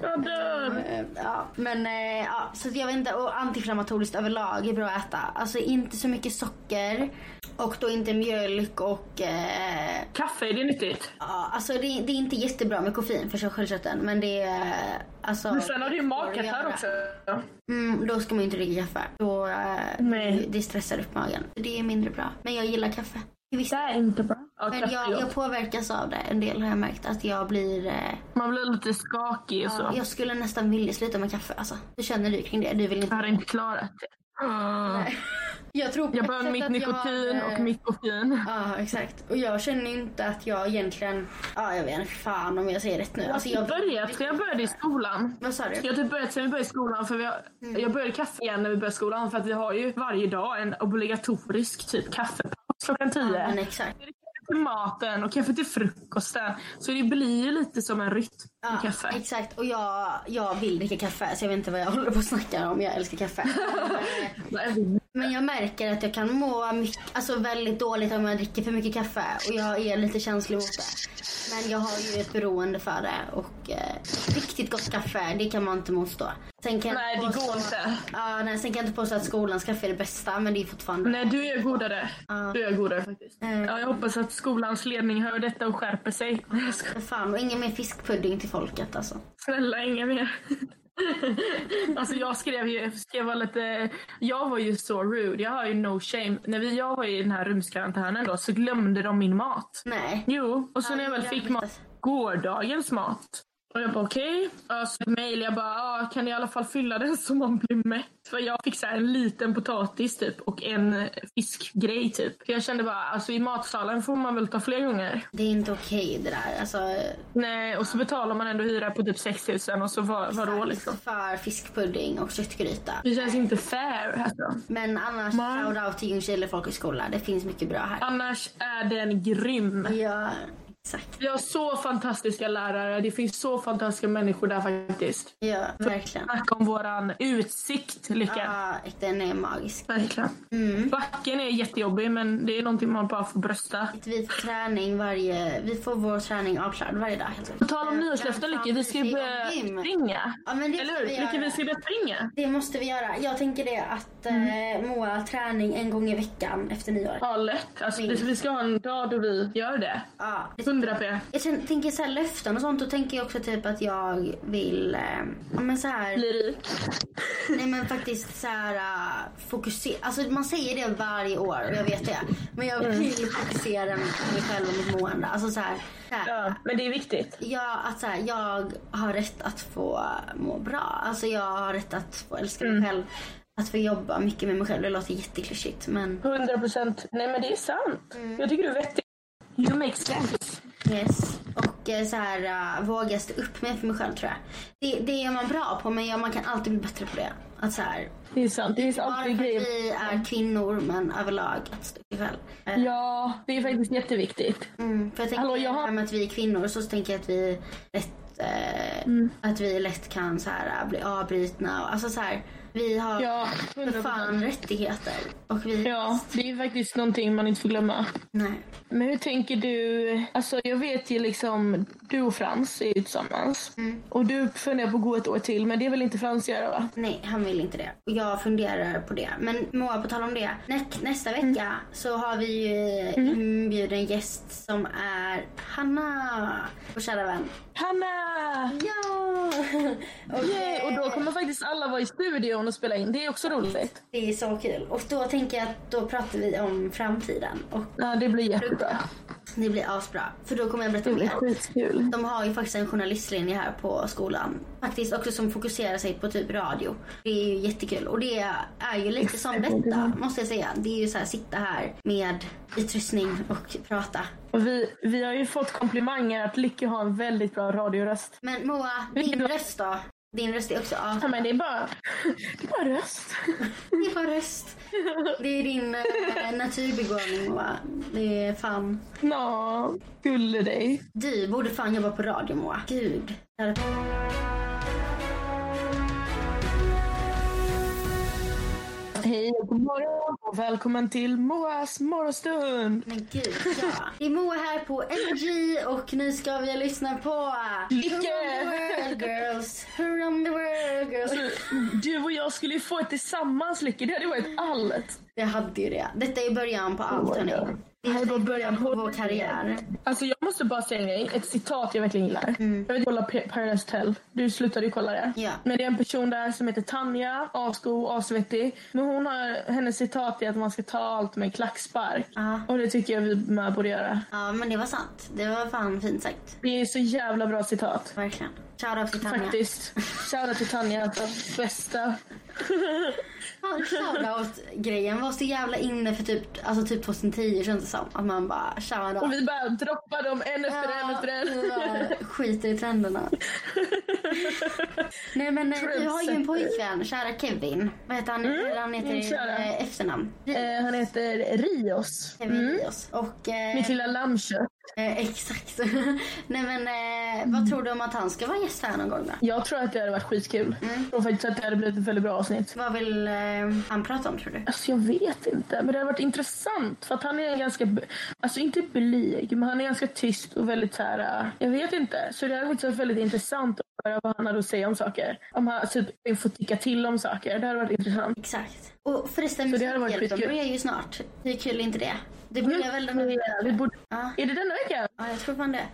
[SPEAKER 2] Jag dör!
[SPEAKER 1] Eh, Ja, men eh, ja, så att jag vet inte. Och antiinflammatoriskt överlag är bra att äta. Alltså inte så mycket socker och då inte mjölk och eh,
[SPEAKER 2] Kaffe, är det nyttigt?
[SPEAKER 1] ja, alltså det, det är inte jättebra med koffein för sköldkörteln men det är alltså.
[SPEAKER 2] Men sen har du ju makat här också.
[SPEAKER 1] Mm, då ska man ju inte dricka kaffe. Då, eh,
[SPEAKER 2] Nej.
[SPEAKER 1] Det stressar upp magen. Det är mindre bra. Men jag gillar kaffe. I vissa
[SPEAKER 2] Det är inte bra. Ja,
[SPEAKER 1] Men
[SPEAKER 2] kaffe
[SPEAKER 1] jag,
[SPEAKER 2] ja.
[SPEAKER 1] jag påverkas av det en del har jag märkt. Att jag blir... Eh,
[SPEAKER 2] Man blir lite skakig och så.
[SPEAKER 1] jag skulle nästan vilja sluta med kaffe. Alltså. Hur känner du kring det? Du vill
[SPEAKER 2] Jag
[SPEAKER 1] inte...
[SPEAKER 2] hade inte klarat det. Ah.
[SPEAKER 1] Jag tror på
[SPEAKER 2] Jag
[SPEAKER 1] ett
[SPEAKER 2] behöver
[SPEAKER 1] sätt
[SPEAKER 2] mitt
[SPEAKER 1] att jag har,
[SPEAKER 2] nikotin
[SPEAKER 1] eh,
[SPEAKER 2] och mitt koffein.
[SPEAKER 1] Ja, exakt. Och jag känner inte att jag egentligen... Ja, jag vet inte fan om jag säger rätt nu. Alltså,
[SPEAKER 2] Jag
[SPEAKER 1] jag...
[SPEAKER 2] började, jag började i skolan.
[SPEAKER 1] Vad sa du?
[SPEAKER 2] Jag har typ börjat sen vi började i skolan. För vi har,
[SPEAKER 1] Mm.
[SPEAKER 2] Jag började kaffe igen när vi började skolan för att vi har ju varje dag en obligatorisk typ kaffepaus klockan tio.
[SPEAKER 1] Ja, men exakt.
[SPEAKER 2] Det är kaffe till maten och kaffe till frukosten. Så det blir ju lite som en rytm
[SPEAKER 1] Ja,
[SPEAKER 2] med kaffe.
[SPEAKER 1] Exakt. Och jag, jag vill dricka kaffe så jag vet inte vad jag håller på att snacka om. Jag älskar kaffe. Men, eh, Men jag märker att jag kan må mycket, alltså väldigt dåligt om jag dricker för mycket kaffe och jag är lite känslig mot det. Men jag har ju ett beroende för det och eh, riktigt gott kaffe, det kan man inte motstå. Sen kan jag
[SPEAKER 2] Nej, det
[SPEAKER 1] inte påstå-
[SPEAKER 2] går inte.
[SPEAKER 1] Ja, nej, sen kan jag inte påstå att skolans kaffe är det bästa, men det är fortfarande...
[SPEAKER 2] Nej, du är godare.
[SPEAKER 1] Ja.
[SPEAKER 2] Du är godare faktiskt.
[SPEAKER 1] Mm.
[SPEAKER 2] Ja, jag hoppas att skolans ledning hör detta och skärper sig. Nej, jag skojar.
[SPEAKER 1] För Fan, och ingen mer fiskpudding till folket alltså.
[SPEAKER 2] Snälla, inga mer. alltså jag skrev ju, skrev vara lite, jag var ju så rude, jag har ju no shame. När vi, jag var i den här rumskarantänen då så glömde de min mat.
[SPEAKER 1] Nej.
[SPEAKER 2] Jo, och så
[SPEAKER 1] Ja,
[SPEAKER 2] när jag väl
[SPEAKER 1] jag
[SPEAKER 2] fick
[SPEAKER 1] vet.
[SPEAKER 2] mat, gårdagens mat. Och jag bara okej. Okay. Så mejlade jag bara, ah, kan ni i alla fall fylla den så man blir mätt? För jag fick så här en liten potatis typ och en eh, fiskgrej typ. För jag kände bara, alltså i matsalen får man väl ta fler gånger.
[SPEAKER 1] Det är inte okej det där. Alltså,
[SPEAKER 2] Nej, och så betalar man ändå hyra på typ 6 000 och så var, vadå liksom.
[SPEAKER 1] För fiskpudding och köttgryta.
[SPEAKER 2] Det känns inte fair. Alltså.
[SPEAKER 1] Men annars,
[SPEAKER 2] Man-
[SPEAKER 1] shout-out till Ljungskile folkhögskola. Det finns mycket bra här.
[SPEAKER 2] Annars är den grym.
[SPEAKER 1] Ja, exakt.
[SPEAKER 2] Vi har så fantastiska lärare. Det finns så fantastiska människor där faktiskt.
[SPEAKER 1] Ja, verkligen.
[SPEAKER 2] Snacka om våran utsikt, Lycka.
[SPEAKER 1] Ja, den är magisk. Mm.
[SPEAKER 2] Verkligen. Backen är jättejobbig, men det är någonting man bara får brösta.
[SPEAKER 1] Vi får, träning varje, vi får vår träning avklarad varje dag. Helt
[SPEAKER 2] På
[SPEAKER 1] enkelt.
[SPEAKER 2] tal om nyårslöften, Lycka, vi ska ju börja springa.
[SPEAKER 1] Ja, men det
[SPEAKER 2] Eller
[SPEAKER 1] ska
[SPEAKER 2] hur?
[SPEAKER 1] vi göra.
[SPEAKER 2] Lycka, vi ska börja springa.
[SPEAKER 1] Det måste vi göra. Jag tänker det att eh, Moa träning en gång i veckan efter nyår. Ja.
[SPEAKER 2] Ja, lätt. Alltså,
[SPEAKER 1] Mm.
[SPEAKER 2] det- vi ska ha en dag då vi gör det.
[SPEAKER 1] det-
[SPEAKER 2] 100 p.
[SPEAKER 1] jag känner, tänker så här löften och sånt. Då tänker jag också typ att jag vill... Eh, ja, men så här,
[SPEAKER 2] Blir rik.
[SPEAKER 1] nej men faktiskt så här eh, fokusera. Alltså man säger det varje år och jag vet det. Men jag vill fokusera på mig själv och mitt mående. Alltså så här, så här
[SPEAKER 2] Ja, men det är viktigt.
[SPEAKER 1] Ja, att så här, jag har rätt att få må bra. Alltså jag har rätt att få älska mig själv. Att få jobba mycket med mig själv. Det låter jätteklyschigt men
[SPEAKER 2] 100 procent. Nej men det är sant.
[SPEAKER 1] Mm.
[SPEAKER 2] Jag tycker du är vettig. You make sense.
[SPEAKER 1] yes. Och eh, så här uh, våga stå upp med för mig själv tror jag. Det, det är man bra på men ja, man kan alltid bli bättre på det. Att så här,
[SPEAKER 2] Det är sant. Det finns
[SPEAKER 1] bara för
[SPEAKER 2] alltid
[SPEAKER 1] att
[SPEAKER 2] grejer.
[SPEAKER 1] vi är kvinnor men överlag att stå upp för sig själv.
[SPEAKER 2] Mm.
[SPEAKER 1] Eh,
[SPEAKER 2] Ja, det är faktiskt jätteviktigt.
[SPEAKER 1] Mm, för jag tänker
[SPEAKER 2] Hallå, jag har-
[SPEAKER 1] det här med att vi är kvinnor så tänker jag att vi lätt, eh,
[SPEAKER 2] Mm.
[SPEAKER 1] att vi lätt kan så här, bli avbrutna. Och, alltså så här, vi har
[SPEAKER 2] Ja,
[SPEAKER 1] för
[SPEAKER 2] 100%.
[SPEAKER 1] fan rättigheter. Och vi...
[SPEAKER 2] Ja, det är faktiskt någonting man inte får glömma.
[SPEAKER 1] Nej.
[SPEAKER 2] Men hur tänker du? Alltså jag vet ju liksom, du och Frans är ju tillsammans. Och du funderar på att gå ett år till, men det vill inte Frans göra va?
[SPEAKER 1] Nej, han vill inte det. Och jag funderar på det. Men Moa, på tal om det. Nä nästa
[SPEAKER 2] Mm.
[SPEAKER 1] vecka så har vi ju inbjuden gäst som är Hanna, vår kära vän.
[SPEAKER 2] Hanna!
[SPEAKER 1] Ja! och,
[SPEAKER 2] Yay! Och då kommer faktiskt alla vara i studion och spela in. Det är också roligt.
[SPEAKER 1] Det är så kul. Och då tänker jag att då pratar vi om framtiden. Och
[SPEAKER 2] Ja, det blir jättebra.
[SPEAKER 1] det blir asbra. För då kommer jag berätta
[SPEAKER 2] Det blir
[SPEAKER 1] mer.
[SPEAKER 2] skitkul.
[SPEAKER 1] De har ju faktiskt en journalistlinje här på skolan. Faktiskt också som fokuserar sig på typ radio. Det är ju jättekul. Och det är ju lite som detta måste jag säga. Det är ju så här sitta här med utrustning och prata.
[SPEAKER 2] Och vi, vi har ju fått komplimanger att Lycke har en väldigt bra radioröst.
[SPEAKER 1] Men Moa, din röst då? Din röst är också ja,
[SPEAKER 2] Ja, men det är bara, det är bara röst.
[SPEAKER 1] Det är bara röst. Det är din eh, naturbegåvning Moa. Det är fan.
[SPEAKER 2] Nå, gulle dig.
[SPEAKER 1] Du borde fan jobba på radio Moa. Gud. hade
[SPEAKER 2] Hej och god morgon och välkommen till Moas morgonstund.
[SPEAKER 1] Men gud, ja. Det är Moa här på NRG och nu ska vi lyssna på...
[SPEAKER 2] Lycka!
[SPEAKER 1] Who run the world girls? Who run the world girls?
[SPEAKER 2] Du och jag skulle ju få ett tillsammans Lycka, det hade varit allt.
[SPEAKER 1] Jag hade ju det. Detta är början på allt
[SPEAKER 2] Oh my
[SPEAKER 1] hörni.
[SPEAKER 2] God.
[SPEAKER 1] Det är bara början på vår karriär.
[SPEAKER 2] Alltså jag måste bara säga en grej, ett citat jag verkligen gillar. Jag vet kolla P- Paradise Hotel, du slutade ju kolla det.
[SPEAKER 1] Mm. Ja.
[SPEAKER 2] Men det är en person där som heter Tanja, asgo, asvettig. Men hon har, hennes citat är att man ska ta allt med en klackspark.
[SPEAKER 1] Ja.
[SPEAKER 2] Och det tycker jag vi med borde göra.
[SPEAKER 1] Ja men det var sant. Det var fan fint sagt.
[SPEAKER 2] Det är så jävla bra citat.
[SPEAKER 1] Verkligen. Shoutout till Tanja.
[SPEAKER 2] Faktiskt. Shoutout till Tanja, alltså, bästa.
[SPEAKER 1] Fan, Shoutout-grejen var så jävla inne för typ, alltså typ 2010 känns det som. Att man bara shoutout.
[SPEAKER 2] Och vi bara droppar dem en efter en efter
[SPEAKER 1] vi
[SPEAKER 2] en.
[SPEAKER 1] bara skiter i trenderna. Nej men eh, du har ju en pojkvän, kära Kevin. Vad heter han?
[SPEAKER 2] Mm,
[SPEAKER 1] Eller han heter
[SPEAKER 2] min
[SPEAKER 1] i
[SPEAKER 2] kära.
[SPEAKER 1] eh, efternamn.
[SPEAKER 2] Eh, han heter Rios.
[SPEAKER 1] Kevin
[SPEAKER 2] Mm.
[SPEAKER 1] Rios. Och, eh,
[SPEAKER 2] Mitt lilla lammkött.
[SPEAKER 1] eh, exakt. Nej men eh,
[SPEAKER 2] Mm.
[SPEAKER 1] vad tror du om att han ska vara gäst här någon gång då?
[SPEAKER 2] Jag tror att det hade varit skitkul.
[SPEAKER 1] Mm.
[SPEAKER 2] Jag tror faktiskt att det hade blivit ett väldigt bra avsnitt.
[SPEAKER 1] Vad vill eh, han prata om tror du?
[SPEAKER 2] Alltså jag vet inte, men det har varit intressant för att han är ganska, b- alltså inte blyg, men han är ganska tyst och väldigt så här, äh, jag vet inte. Så det har faktiskt varit väldigt intressant att höra vad han hade att säga om saker. Om han typ får tycka till om saker, det hade varit intressant.
[SPEAKER 1] Exakt. Och förresten,
[SPEAKER 2] Så det hade varit
[SPEAKER 1] Musikhjälpen
[SPEAKER 2] skitkul. Mm.
[SPEAKER 1] börjar ju snart. Hur kul är inte det? Det börjar väl den här
[SPEAKER 2] Vi
[SPEAKER 1] veckan?
[SPEAKER 2] borde...
[SPEAKER 1] Ja.
[SPEAKER 2] Är det denna veckan?
[SPEAKER 1] Ja, jag tror fan det.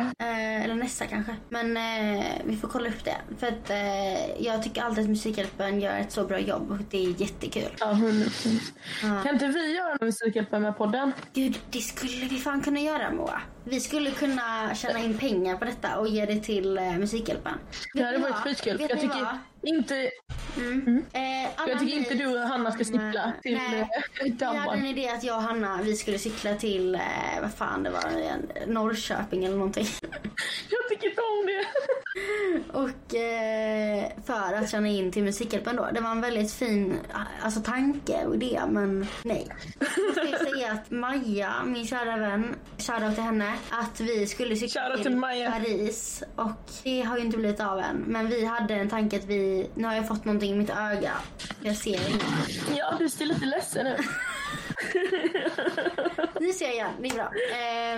[SPEAKER 1] Eh, eller nästa kanske. Men eh, vi får kolla upp det. För att eh, jag tycker alltid att Musikhjälpen gör ett så bra jobb och det är jättekul.
[SPEAKER 2] Ja, 100%. Kan inte vi göra en musikhjälp med podden?
[SPEAKER 1] Gud, det skulle vi fan kunna göra Moa. Vi skulle kunna tjäna in pengar på detta och ge det till eh, Musikhjälpen.
[SPEAKER 2] Det hade
[SPEAKER 1] Vet ni vad?
[SPEAKER 2] varit skitkul.
[SPEAKER 1] Vet
[SPEAKER 2] Jag
[SPEAKER 1] ni
[SPEAKER 2] tycker
[SPEAKER 1] vad?
[SPEAKER 2] inte,
[SPEAKER 1] Mm. Eh, alla
[SPEAKER 2] jag tycker inte
[SPEAKER 1] ni
[SPEAKER 2] du och Hanna ska
[SPEAKER 1] som,
[SPEAKER 2] cykla
[SPEAKER 1] eh,
[SPEAKER 2] till
[SPEAKER 1] nej.
[SPEAKER 2] eh,
[SPEAKER 1] Jag hade
[SPEAKER 2] Danmark.
[SPEAKER 1] en idé att jag och Hanna vi skulle cykla till, eh, vad fan det var, nu igen, Norrköping eller någonting.
[SPEAKER 2] Jag tycker inte om det.
[SPEAKER 1] Och eh, för att tjäna in till Musikhjälpen då. Det var en väldigt fin alltså, tanke och idé men nej. Jag ska säga att Maja, min kära vän, shoutout till henne. Att vi skulle cykla
[SPEAKER 2] Shoutout
[SPEAKER 1] till,
[SPEAKER 2] till Maja.
[SPEAKER 1] Paris och det har ju inte blivit av än. Men vi hade en tanke att vi, nu har jag fått någonting i mitt öga. Jag ser inget.
[SPEAKER 2] Ja, du ser lite ledsen ut.
[SPEAKER 1] Nu ser jag, det är bra.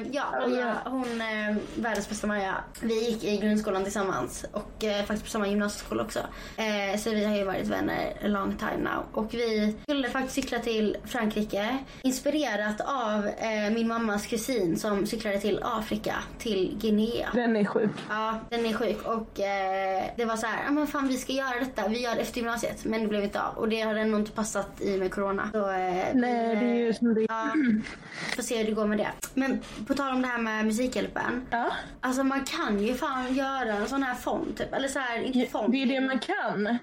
[SPEAKER 1] Eh, ja, Maja, hon, eh, världens bästa Maja. Vi gick i grundskolan tillsammans och eh, faktiskt på samma gymnasieskola också. Eh, så vi har ju varit vänner a long time now. Och vi skulle faktiskt cykla till Frankrike inspirerat av eh, min mammas kusin som cyklade till Afrika, till Guinea.
[SPEAKER 2] Den är sjuk.
[SPEAKER 1] Ja, den är sjuk och eh, det var så här, ja men fan vi ska göra detta, vi gör det efter gymnasiet. Men det blev inte av och det har ändå inte passat i med corona. Så, eh,
[SPEAKER 2] Nej,
[SPEAKER 1] vi,
[SPEAKER 2] det är ju som det är.
[SPEAKER 1] Ja, får se hur det går med det. Men på tal om det här med Musikhjälpen.
[SPEAKER 2] Ja.
[SPEAKER 1] Alltså man kan ju fan göra en sån här fond typ. Eller så här, inte fond.
[SPEAKER 2] Det är det man kan.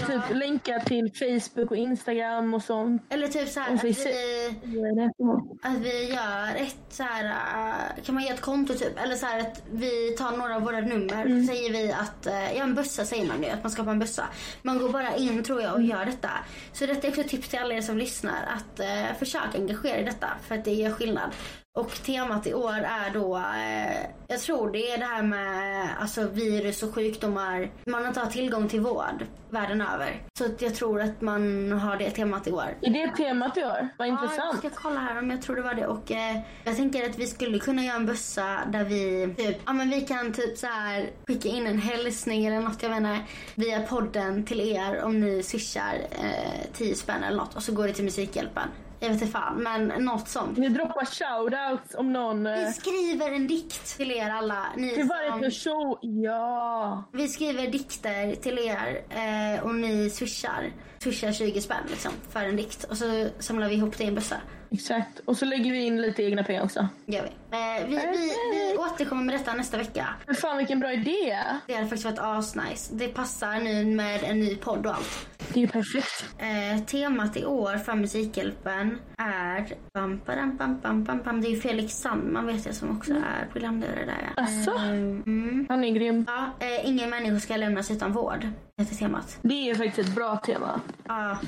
[SPEAKER 1] Ja.
[SPEAKER 2] Typ länka till Facebook och Instagram och sånt.
[SPEAKER 1] Eller typ så här
[SPEAKER 2] Och
[SPEAKER 1] att
[SPEAKER 2] så i-
[SPEAKER 1] vi, att vi gör ett så här, äh, kan man göra ett konto typ? Eller så här att vi tar några av våra nummer. Så säger vi att, äh, ja en bössa säger man ju, att man skapar en bössa. Man går bara in tror jag och gör detta. Så detta är också ett tips till alla er som lyssnar att äh, försök engagera er i detta för att det gör skillnad. Och temat i år är då, eh, jag tror det är det här med alltså, virus och sjukdomar. Man inte har tillgång till vård världen över. Så att jag tror att man har det temat i år.
[SPEAKER 2] Är det temat du har? Vad
[SPEAKER 1] Ja, jag
[SPEAKER 2] intressant.
[SPEAKER 1] ska kolla här om jag tror det var det. Och eh, jag tänker att vi skulle kunna göra en bössa där vi typ, ja men vi kan typ så här skicka in en hälsning eller något, jag menar via podden till er om ni swishar eh, 10 spänn eller något och så går det till Musikhjälpen. Jag vet inte fan, men något sånt.
[SPEAKER 2] Vi droppar shoutouts om någon... eh,
[SPEAKER 1] Vi skriver en dikt till er alla. Ni
[SPEAKER 2] Till varje
[SPEAKER 1] som-
[SPEAKER 2] person. Ja.
[SPEAKER 1] vi skriver dikter till er eh, och ni swishar. Swishar 20 spänn liksom för en dikt och så samlar vi ihop det i en bössa.
[SPEAKER 2] Exakt. Och så lägger vi in lite egna pengar också.
[SPEAKER 1] gör vi. Eh, vi, vi, vi återkommer med detta nästa vecka.
[SPEAKER 2] Men fan vilken bra idé.
[SPEAKER 1] Det hade faktiskt varit asnice. Det passar nu med en ny podd och allt.
[SPEAKER 2] Det är ju perfekt.
[SPEAKER 1] Eh, temat i år för Musikhjälpen är... Bam, badam, bam, bam, bam, bam. Det är ju Felix Sandman vet jag som också
[SPEAKER 2] Mm.
[SPEAKER 1] är programledare där. ja.
[SPEAKER 2] Asså?
[SPEAKER 1] Eh, mm.
[SPEAKER 2] Alltså. Han är grym.
[SPEAKER 1] Ja, eh, ingen människa ska lämnas utan vård. Heter temat.
[SPEAKER 2] Det är faktiskt ett bra tema.
[SPEAKER 1] Ja.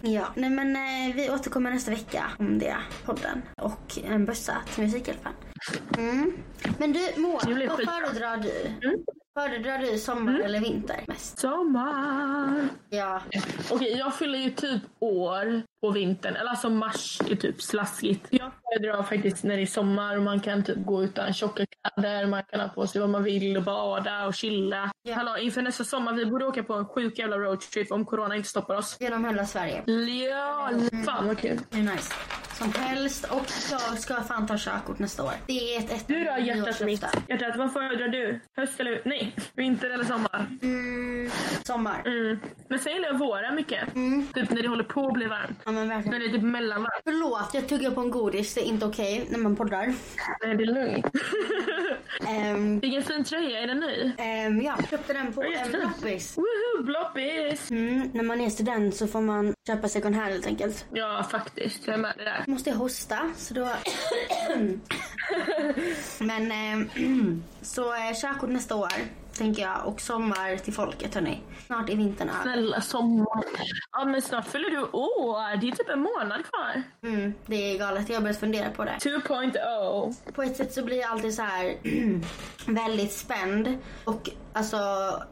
[SPEAKER 1] ja. Nej men eh, vi återkommer nästa vecka om det. Podden. Och en bössa till Musikhjälpen. Mm. Men du Moa,
[SPEAKER 2] Det blir
[SPEAKER 1] vad
[SPEAKER 2] skitbra.
[SPEAKER 1] föredrar du? Föredrar du sommar
[SPEAKER 2] Mm.
[SPEAKER 1] eller vinter mest?
[SPEAKER 2] Sommar!
[SPEAKER 1] Ja.
[SPEAKER 2] Okej, jag fyller ju typ år på vintern. Eller alltså mars är typ slaskigt. Jag föredrar faktiskt när det är sommar och man kan typ gå utan tjocka kläder. Man kan ha på sig vad man vill och bada och chilla.
[SPEAKER 1] Ja.
[SPEAKER 2] Hallå, inför nästa sommar, vi borde åka på en sjuk jävla roadtrip om corona inte stoppar oss.
[SPEAKER 1] Genom hela Sverige.
[SPEAKER 2] Ja,
[SPEAKER 1] Mm.
[SPEAKER 2] fan vad kul.
[SPEAKER 1] Det är nice. Som helst. Och jag ska fan ta körkort nästa år. Det är ett ett
[SPEAKER 2] Du då hjärtat
[SPEAKER 1] nyårslöfte.
[SPEAKER 2] mitt? Hjärtat, vad föredrar du? Höst eller... Nej, vinter eller sommar?
[SPEAKER 1] Mm, sommar.
[SPEAKER 2] Mm. Men sen gillar jag våren mycket.
[SPEAKER 1] Mm.
[SPEAKER 2] Typ när det håller på att bli varmt.
[SPEAKER 1] Ja men verkligen.
[SPEAKER 2] När det är typ mellanvarmt.
[SPEAKER 1] Förlåt, jag tuggar på en godis. Det är inte okej när man poddar.
[SPEAKER 2] Nej, det är lugnt.
[SPEAKER 1] Ehm,
[SPEAKER 2] Vilken fin tröja, är den ny?
[SPEAKER 1] ehm, ja, köpte den på
[SPEAKER 2] Vad
[SPEAKER 1] en
[SPEAKER 2] jättefin.
[SPEAKER 1] loppis.
[SPEAKER 2] Woho, bloppis!
[SPEAKER 1] Mm, när man är student så får man köpa second hand helt enkelt.
[SPEAKER 2] Ja, faktiskt. Jag är med det där.
[SPEAKER 1] Måste jag hosta så då... Men ehm, så eh, körkort nästa år tänker jag och sommar till folket hörni. Snart är vintern över.
[SPEAKER 2] Snälla sommar. Ja, men snart fyller du år. Det är typ en månad kvar.
[SPEAKER 1] Mm, det är galet, jag har börjat fundera på det.
[SPEAKER 2] 2.0.
[SPEAKER 1] På ett sätt så blir jag alltid så här väldigt spänd och alltså,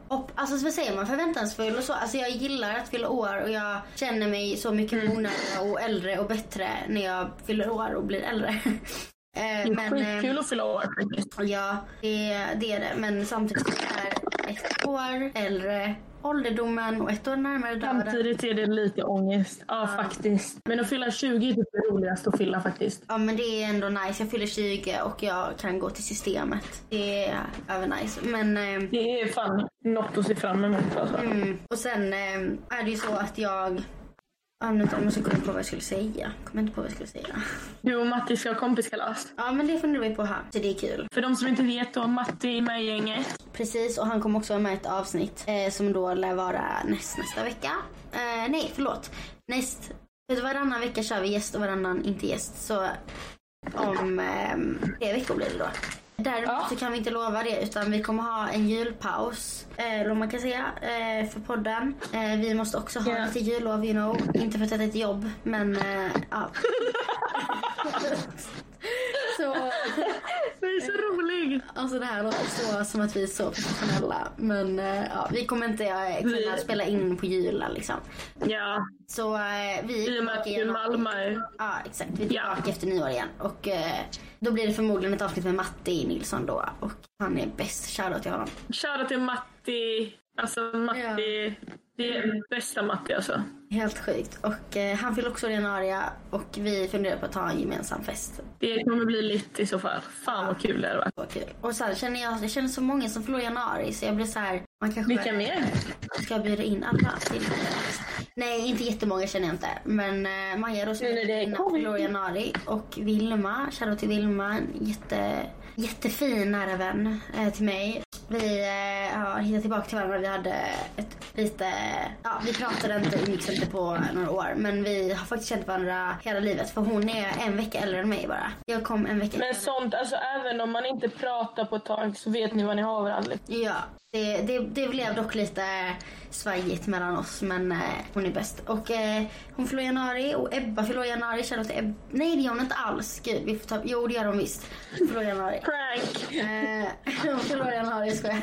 [SPEAKER 1] upp, alltså vad säger man, förväntansfull och så. Alltså jag gillar att fylla år och jag känner mig så
[SPEAKER 2] Mm.
[SPEAKER 1] mycket mognare och äldre och bättre när jag fyller år och blir äldre. Eh,
[SPEAKER 2] Det är
[SPEAKER 1] men, eh,
[SPEAKER 2] skitkul att fylla år faktiskt.
[SPEAKER 1] Ja, det, det är det. Men samtidigt så är ett år äldre ålderdomen och ett år närmare döden.
[SPEAKER 2] Samtidigt är det lite ångest. Ja, faktiskt. Men att fylla 20 är typ det roligaste att fylla faktiskt.
[SPEAKER 1] Ja men det är ändå nice. Jag fyller 20 och jag kan gå till systemet. Det är övernice. Men eh,
[SPEAKER 2] Det är fan något att se fram emot alltså.
[SPEAKER 1] Mm. Och sen ehm, är det ju så att jag... Ja, nu jag måste komma på vad jag skulle säga. Kommer inte på vad jag skulle säga.
[SPEAKER 2] Du och Matti ska ha kompiskalas.
[SPEAKER 1] Ja, men det funderar vi på här. Så det är kul.
[SPEAKER 2] För de som inte vet då, Matti är med i gänget.
[SPEAKER 1] Precis, och han kommer också vara med i ett avsnitt eh, som då lär vara näst, nästa vecka. Eh, nej, förlåt. Näst... För varannan vecka kör vi gäst och varannan inte gäst. Så om ehm, tre veckor blir det då. Däremot
[SPEAKER 2] Ja.
[SPEAKER 1] så kan vi inte lova det utan vi kommer ha en julpaus. eh, Eller om man kan säga eh, för podden. Eh, Vi måste också ha
[SPEAKER 2] Ja.
[SPEAKER 1] lite jullov you know. Inte för att det är ett jobb men eh, ja. så
[SPEAKER 2] Det är så roligt!
[SPEAKER 1] Alltså det här låter så som att vi är så professionella. Men eh, ja, vi kommer inte eh, kunna
[SPEAKER 2] Vi-
[SPEAKER 1] spela in på julen liksom.
[SPEAKER 2] Ja,
[SPEAKER 1] Så eh, vi är
[SPEAKER 2] i och med
[SPEAKER 1] tillbaka
[SPEAKER 2] att du är
[SPEAKER 1] igen.
[SPEAKER 2] Malmö.
[SPEAKER 1] Ja exakt, vi är
[SPEAKER 2] Ja.
[SPEAKER 1] tillbaka efter nyår igen. Och eh, då blir det förmodligen ett avsnitt med Matti Nilsson då. Och han är bäst, shoutout till honom.
[SPEAKER 2] Shoutout till Matti. Alltså Matti. Det är bästa Matti alltså.
[SPEAKER 1] Helt sjukt. Och eh, han fyller också år i januari och vi funderar på att ta en gemensam fest.
[SPEAKER 2] Det kommer bli lite i så fall. Fan vad kul det hade varit.
[SPEAKER 1] Så kul. Och sen känner jag, jag känner så många som förlorar i januari så jag blir så här, man kanske...
[SPEAKER 2] Vilka mer?
[SPEAKER 1] Ska jag bjuda in alla till Nej, inte jättemånga känner jag inte. Men eh, Maja då som
[SPEAKER 2] Nej, nej, det är
[SPEAKER 1] innan
[SPEAKER 2] covid.
[SPEAKER 1] förlorade i januari och Vilma, shoutout till Vilma, en jätte, jättefin nära vän eh, till mig. Vi eh, har hittat tillbaka till varandra. Vi hade ett lite, ja vi pratade inte, umgicks inte på några år. Men vi har faktiskt känt varandra hela livet för hon är en vecka äldre än mig bara. Jag kom en vecka
[SPEAKER 2] Men sånt, alltså även om man inte pratar på ett tag så vet ni vad ni har varandra.
[SPEAKER 1] Ja, det, det, det blev dock lite svajigt mellan oss men eh, hon är bäst. Och eh, hon förlorar i januari och Ebba förlorar i januari. Shoutout till Ebba. Nej det gör hon inte alls. Gud, vi får ta... Jo det gör hon visst. Hon förlorar i januari.
[SPEAKER 2] Prank!
[SPEAKER 1] Eh, hon förlorar i januari skojar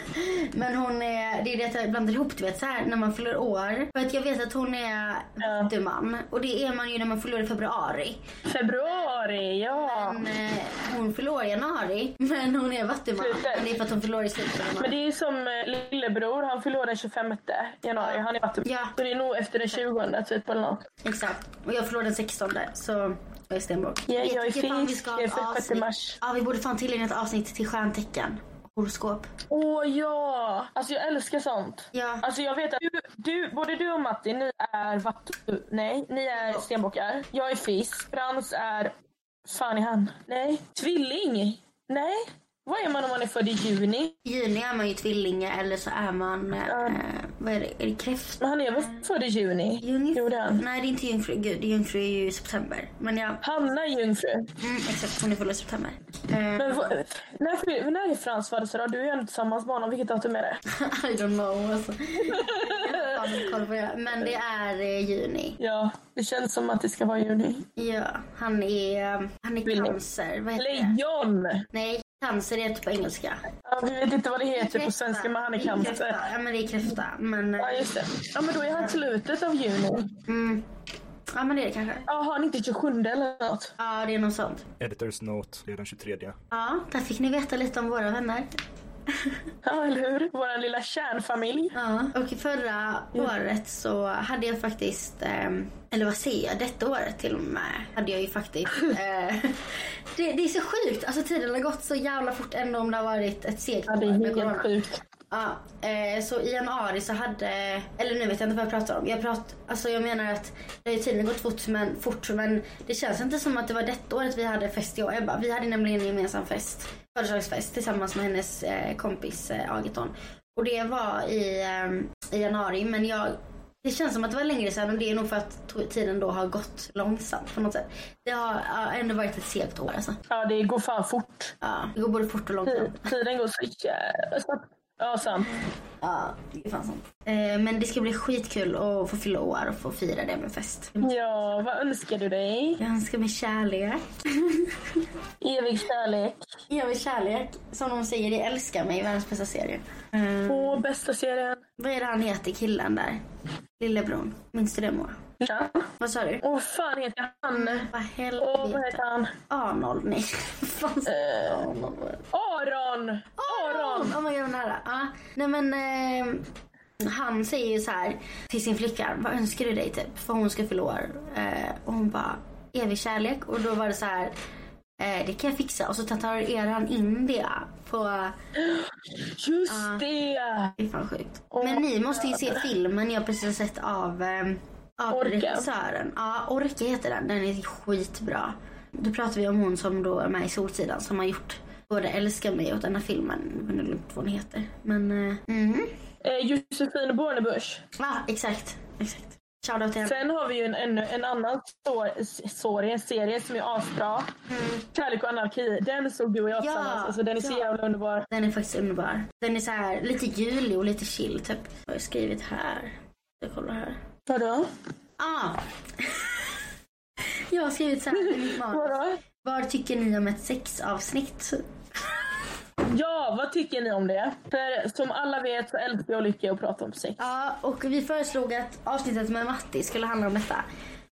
[SPEAKER 1] jag. Men hon är, det är det att jag blandar ihop du vet så här när man fyller år. För att jag vet att hon är
[SPEAKER 2] Ja.
[SPEAKER 1] vattuman. Och det är man ju när man förlorar i februari.
[SPEAKER 2] Februari, ja.
[SPEAKER 1] Men, eh, hon förlorar i januari men hon är vattuman.
[SPEAKER 2] Slutet.
[SPEAKER 1] Men det är för att hon förlorar i slutet av januari.
[SPEAKER 2] Men det är som eh, lillebror, han fyller år den 25 januari. Han är fattig.
[SPEAKER 1] Ja.
[SPEAKER 2] Så det är nog efter den 20 typ eller något.
[SPEAKER 1] Exakt. Och jag förlorade den 16 så jag är stenbock.
[SPEAKER 2] Ja, jag är
[SPEAKER 1] tycker fan vi ska ha ett
[SPEAKER 2] fisk för 6
[SPEAKER 1] avsnitt.
[SPEAKER 2] mars.
[SPEAKER 1] Ja, vi borde fan tillägna ett avsnitt till stjärntecken. Horoskop.
[SPEAKER 2] Åh ja! Alltså jag älskar sånt.
[SPEAKER 1] Ja.
[SPEAKER 2] Alltså jag vet att du, du, både du och Matti, ni är vattu... Nej, ni är stenbockar. Jag är fisk. Frans är... Fan är han? Nej. Tvilling? Nej. Vad är man om man är född i juni?
[SPEAKER 1] I juni är man ju tvillinge eller så är man... Eh,
[SPEAKER 2] Ja.
[SPEAKER 1] vad är det? Är det kräft?
[SPEAKER 2] Men han är väl född i juni? Jo, det är han.
[SPEAKER 1] Nej, det är inte jungfru. Gud, det är jungfru är ju i september. Men ja,
[SPEAKER 2] Hanna är jungfru.
[SPEAKER 1] mm, exakt. Hon är full i september. Eh,
[SPEAKER 2] Men vad, när, fyll- när är Frans födelsedag? Du är ju ändå tillsammans med honom. Vilket datum är det?
[SPEAKER 1] I don't know alltså. Jag har fan inte koll på det. Men det är eh, juni.
[SPEAKER 2] Ja, det känns som att det ska vara i juni.
[SPEAKER 1] Ja, han är... Han är
[SPEAKER 2] Tvilling.
[SPEAKER 1] cancer. Vad heter det?
[SPEAKER 2] Lejon!
[SPEAKER 1] Nej, Cancer är typ på engelska.
[SPEAKER 2] Ja, vi vet inte vad det heter Typ på
[SPEAKER 1] Kräfta.
[SPEAKER 2] svenska men han är
[SPEAKER 1] Det
[SPEAKER 2] cancer.
[SPEAKER 1] kräfta. Ja men det är kräfta. Men, eh,
[SPEAKER 2] Ja just det. Ja men då är han slutet av juni.
[SPEAKER 1] mm. ja men det är det kanske.
[SPEAKER 2] Ja har han inte 27 eller något?
[SPEAKER 1] Ja det är något sånt.
[SPEAKER 3] Editors note, det är den 23.
[SPEAKER 1] Ja, där fick ni veta lite om våra vänner.
[SPEAKER 2] Ja eller hur? Vår lilla kärnfamilj.
[SPEAKER 1] Ja, och förra året så hade jag faktiskt, ehm, eller vad säger jag, detta året till och med hade jag ju faktiskt. eh, det, det är så sjukt, alltså tiden har gått så jävla fort ändå om det har varit ett segt
[SPEAKER 2] Ja det
[SPEAKER 1] år med
[SPEAKER 2] är helt
[SPEAKER 1] corona.
[SPEAKER 2] sjukt.
[SPEAKER 1] Ja, eh, så i januari så hade, eller nu vet jag inte vad jag pratar om. Jag, prat, alltså jag menar att det har ju tiden gått fort men, fort men det känns inte som att det var detta året vi hade fest jag och Ebba. Vi hade nämligen en gemensam fest, födelsedagsfest tillsammans med hennes eh, kompis eh, Ageton. Och det var i, eh, i januari men jag det känns som att det var längre sedan och det är nog för att to- tiden då har gått långsamt på något sätt. Det har ja, ändå varit ett segt år alltså.
[SPEAKER 2] Ja det går fan fort.
[SPEAKER 1] Ja, det går både fort och långsamt.
[SPEAKER 2] Tid- Tiden går så jävla snabbt. Ja sant.
[SPEAKER 1] Ja, det är fan sant. Eh, men det ska bli skitkul att få fylla år och få fira det med fest.
[SPEAKER 2] Ja vad önskar du dig?
[SPEAKER 1] Jag önskar mig kärlek.
[SPEAKER 2] Evig kärlek.
[SPEAKER 1] Jag vill kärlek. Som de säger i Älska mig, världens bästa serie. Eh,
[SPEAKER 2] Åh bästa serien.
[SPEAKER 1] vad är det han heter, killen där? Lillebron. Minns du det Moa?
[SPEAKER 2] Ja.
[SPEAKER 1] Vad sa du?
[SPEAKER 2] Åh vad fan heter han?
[SPEAKER 1] Vad Eh.
[SPEAKER 2] Åh vad
[SPEAKER 1] helvete.
[SPEAKER 2] heter han?
[SPEAKER 1] Arnold? Nej. Fan, Arnold.
[SPEAKER 2] Aron! Aron!
[SPEAKER 1] Oh my god, vad nära. Ja. Nej men ehm, han säger ju så här till sin flicka, vad önskar du dig typ? För hon ska fylla år. Eh, och hon bara, evig kärlek. Och då var det så här, eh, det kan jag fixa. Och så tatuerar han in det på,
[SPEAKER 2] Just det!
[SPEAKER 1] det är fan sjukt. men ni måste ju se filmen jag precis har sett av, ehm, av
[SPEAKER 2] Orka.
[SPEAKER 1] regissören. Ja, Orka heter den. Den är skitbra. Då pratar vi om hon som då är med i Solsidan som har gjort både Älska mig och den här filmen. Jag vet inte vad hon heter. Men, eh, mm.
[SPEAKER 2] Eh, Josefin Bornebusch.
[SPEAKER 1] Ja, exakt. exakt. Shoutout till henne.
[SPEAKER 2] Sen har vi ju en, en, en annan stor- sorry, serie som är asbra. Kärlek och anarki. Den såg du och jag
[SPEAKER 1] Mm. Ja,
[SPEAKER 2] tillsammans. Alltså, den är så
[SPEAKER 1] ja.
[SPEAKER 2] jävla underbar.
[SPEAKER 1] Den är faktiskt underbar. Den är så här lite julig och lite chill typ. Vad har jag skrivit här? Jag kollar här.
[SPEAKER 2] Vadå?
[SPEAKER 1] Ah! jag har skrivit så här i mitt manus.
[SPEAKER 2] Vadå?
[SPEAKER 1] Vad tycker ni om ett sexavsnitt?
[SPEAKER 2] Ja, vad tycker ni om det? För som alla vet så älskar jag och Lycka att prata om sex.
[SPEAKER 1] Ja, och vi föreslog att avsnittet med Matti skulle handla om detta.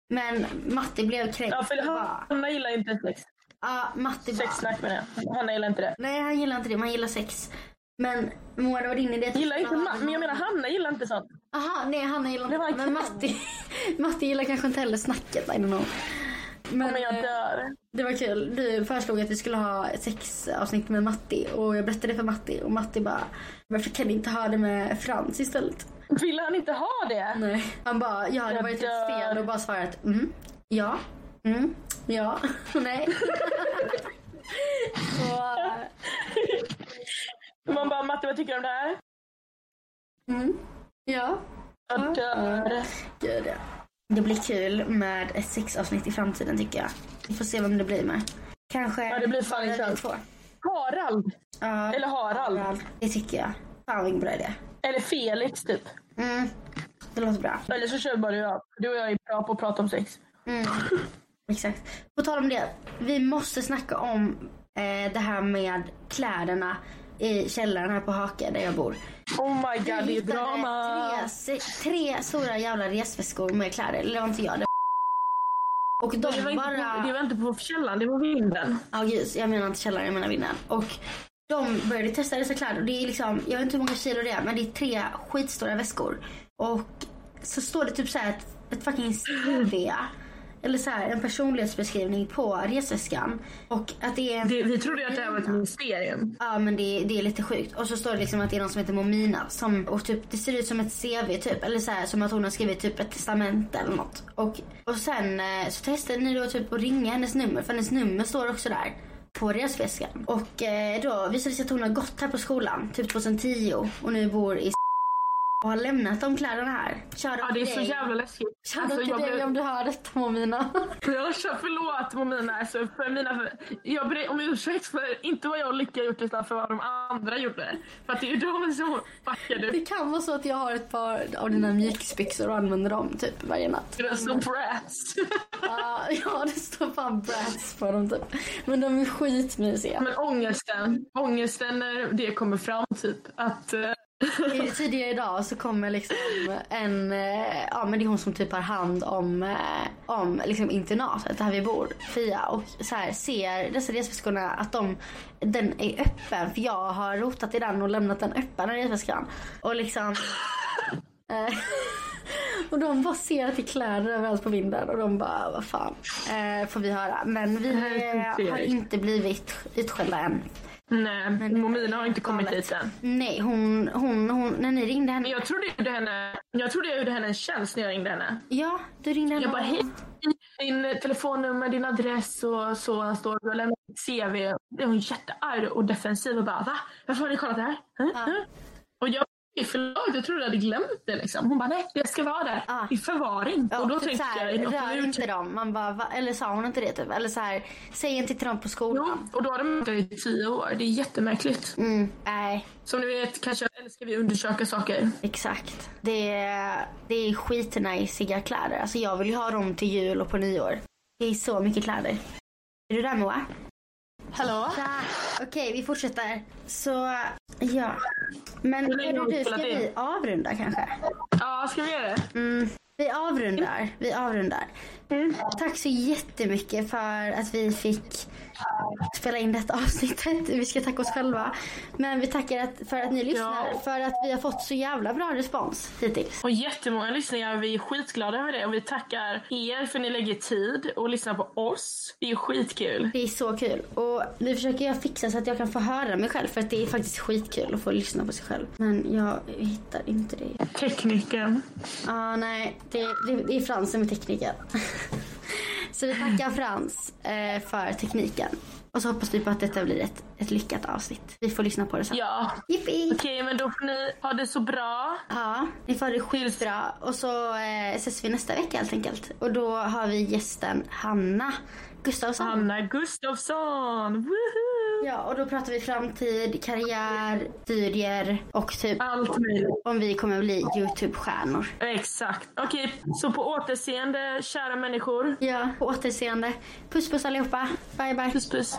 [SPEAKER 1] Men Matti blev kränkt.
[SPEAKER 2] Ja, för
[SPEAKER 1] och bara-
[SPEAKER 2] Hanna gillar inte sex.
[SPEAKER 1] Ja, Matti bara...
[SPEAKER 2] Sexsnack menar jag. Hanna gillar inte det.
[SPEAKER 1] Nej, han gillar inte det. Man gillar sex. Men Moa, det var din idé. att-
[SPEAKER 2] Gillar inte ma- men jag menar Hanna gillar inte sånt.
[SPEAKER 1] Aha, nej Hanna gillar
[SPEAKER 2] Det var
[SPEAKER 1] inte.
[SPEAKER 2] en
[SPEAKER 1] Men
[SPEAKER 2] kille.
[SPEAKER 1] Matti, Matti gillar kanske inte heller snacket. I don't know. Men,
[SPEAKER 2] Men jag
[SPEAKER 1] eh,
[SPEAKER 2] dör.
[SPEAKER 1] det var kul. Du föreslog att vi skulle ha ett sexavsnitt med Matti. Och jag berättade det för Matti. Och Matti bara, varför kan ni inte ha det med Frans istället?
[SPEAKER 2] Vill han inte ha det?
[SPEAKER 1] Nej. Han bara, jag hade
[SPEAKER 2] Jag
[SPEAKER 1] varit
[SPEAKER 2] dör.
[SPEAKER 1] helt typ fel och bara svarat mm, ja, mm, ja, nej. Så,
[SPEAKER 2] Man bara Matte vad tycker du om det här?
[SPEAKER 1] mm, ja.
[SPEAKER 2] Jag dör.
[SPEAKER 1] Gud, ja. Det blir kul med ett sexavsnitt i framtiden tycker jag. Vi får se vem det blir med. Kanske
[SPEAKER 2] Ja, det blir fan
[SPEAKER 1] båda
[SPEAKER 2] intressant.
[SPEAKER 1] två.
[SPEAKER 2] Harald.
[SPEAKER 1] Ja,
[SPEAKER 2] Eller Harald.
[SPEAKER 1] Det tycker jag. Fan vilken bra idé.
[SPEAKER 2] Eller Felix typ.
[SPEAKER 1] Mm. Det låter bra.
[SPEAKER 2] Eller så kör bara du och jag. Du och jag är bra på att prata om sex.
[SPEAKER 1] Mm. Exakt. På tal om det. Vi måste snacka om eh, det här med kläderna i källaren här på Hake där jag bor.
[SPEAKER 2] Oh my god, det är
[SPEAKER 1] hittade
[SPEAKER 2] drama.
[SPEAKER 1] Tre, se- tre stora jävla resväskor med kläder. Eller det var inte jag. Det var och de
[SPEAKER 2] Det var, inte
[SPEAKER 1] bara...
[SPEAKER 2] på, det var inte på källan, det var vinden.
[SPEAKER 1] Ja gud, jag menar inte källaren, jag menar vinden. Och de började testa dessa kläder och det är liksom, jag vet inte hur många kilo det är men det är tre skitstora väskor. Och så står det typ så här ett, ett fucking CV. Eller så här en personlighetsbeskrivning på resväskan. Och att det är en...
[SPEAKER 2] Det, vi trodde att det här var ett mysterium.
[SPEAKER 1] Ja men det, det är lite sjukt. Och så står det liksom att det är någon som heter Momina. Som, och typ, det ser ut som ett CV typ. Eller så här, som att hon har skrivit typ ett testamente eller något. Och, och sen eh, så testade ni då typ att ringa hennes nummer. För hennes nummer står också där. På resväskan. Och eh, då visade det sig att hon har gått här på skolan. Typ 2010. Och nu bor i jag har lämnat de kläderna här. Kör
[SPEAKER 2] Ja, det är så jävla läskigt.
[SPEAKER 1] Shoutout
[SPEAKER 2] Alltså,
[SPEAKER 1] till
[SPEAKER 2] jag
[SPEAKER 1] dig
[SPEAKER 2] blev-
[SPEAKER 1] om du hör detta Momina.
[SPEAKER 2] Jag kör förlåt Momina, alltså, för mina, jag ber om ursäkt för inte vad jag och Lycka gjort utan för vad de andra gjorde. För att det är ju de som fuckade
[SPEAKER 1] Det
[SPEAKER 2] upp
[SPEAKER 1] kan vara så att jag har ett par av dina mjukisbyxor och använder dem typ varje natt.
[SPEAKER 2] det som brats.
[SPEAKER 1] Ja, ja, det står fan brats på dem typ. Men de är skitmysiga.
[SPEAKER 2] Men ångesten, ångesten när det kommer fram typ. Att, eh,
[SPEAKER 1] I- Tidigare idag så kommer liksom en, eh, ja men det är hon som typ har hand om, eh, om liksom internatet där vi bor, Fia. Och så här ser dessa resväskorna att de, den är öppen för jag har rotat i den och lämnat den öppen den resväskan. Och liksom eh, Och de bara ser att det är kläder överallt på vinden och de bara, vad fan, eh, får vi höra. Men vi eh, har inte blivit utskällda än.
[SPEAKER 2] nej, Momina har inte kommit
[SPEAKER 1] galet.
[SPEAKER 2] hit än.
[SPEAKER 1] Nej, hon, hon, hon, när ni ringde henne.
[SPEAKER 2] Men jag trodde jag gjorde henne, jag trodde jag gjorde henne en tjänst när jag ringde henne.
[SPEAKER 1] Ja, du ringde henne.
[SPEAKER 2] Jag bara hej, din telefonnummer, din adress och så. Han står och lämnar ett CV. Då är hon jättearg och defensiv och bara va? Varför har ni kollat det här? Hä?
[SPEAKER 1] Ja.
[SPEAKER 2] Hä?" Och jag "Oj, förlåt, jag trodde du hade glömt det liksom. Hon bara nej, jag ska vara där
[SPEAKER 1] Ja.
[SPEAKER 2] i förvaring.
[SPEAKER 1] Ja,
[SPEAKER 2] och då
[SPEAKER 1] typ
[SPEAKER 2] tänkte
[SPEAKER 1] så här,
[SPEAKER 2] jag, "Är det något
[SPEAKER 1] rör
[SPEAKER 2] lurt?"
[SPEAKER 1] inte dem. Man bara, va? Eller sa hon inte det typ? Eller så här, säg inte till dem på
[SPEAKER 2] Jo,
[SPEAKER 1] skolan.
[SPEAKER 2] och då har de inte varit i tio år. Det är jättemärkligt.
[SPEAKER 1] Mm, nej,
[SPEAKER 2] Som ni vet kanske älskar vi att undersöka saker.
[SPEAKER 1] exakt. Det, är- det är skitnajsiga kläder. Alltså jag vill ju ha dem till jul och på nyår. Det är så mycket kläder. Är du där Moa?
[SPEAKER 2] Hallå?
[SPEAKER 1] Så, Okej, vi fortsätter. Så, ja. Men
[SPEAKER 2] Hur länge
[SPEAKER 1] hörru
[SPEAKER 2] har vi
[SPEAKER 1] du, ska
[SPEAKER 2] spelat in?
[SPEAKER 1] vi avrunda kanske?
[SPEAKER 2] Ja, ska vi göra det?
[SPEAKER 1] Mm. Vi avrundar. Vi avrundar.
[SPEAKER 2] Mm.
[SPEAKER 1] Tack så jättemycket för att vi fick spela in detta avsnittet. Vi ska tacka oss själva. Men vi tackar att, för att ni lyssnar.
[SPEAKER 2] Ja.
[SPEAKER 1] För att vi har fått så jävla bra respons hittills.
[SPEAKER 2] Och jättemånga lyssningar. Vi är skitglada över det och vi tackar er för att ni lägger tid och lyssnar på oss. Det är skitkul.
[SPEAKER 1] Det är så kul. Och nu försöker jag fixa så att jag kan få höra mig själv. För att det är faktiskt skitkul att få lyssna på sig själv. Men jag hittar inte det. Ja,
[SPEAKER 2] Tekniken.
[SPEAKER 1] ah, nej. Det, det, det är Frans som är tekniker. så vi tackar Frans eh, för tekniken. Och så hoppas vi på att detta blir ett, ett lyckat avsnitt. Vi får lyssna på det sen.
[SPEAKER 2] Ja.
[SPEAKER 1] Jippi!
[SPEAKER 2] Okej, men då får ni ha det så bra.
[SPEAKER 1] Ja, ni får ha det skitbra. Och så eh, ses vi nästa vecka helt enkelt. Och då har vi gästen Hanna Gustafsson.
[SPEAKER 2] Anna Gustafsson! Woohoo!
[SPEAKER 1] Ja, och då pratar vi framtid, karriär, studier och typ
[SPEAKER 2] Allt möjligt.
[SPEAKER 1] om vi kommer bli YouTube-stjärnor.
[SPEAKER 2] Exakt. Okej, så på återseende kära människor.
[SPEAKER 1] Ja, på återseende. Puss puss allihopa. Bye bye.
[SPEAKER 2] Puss puss.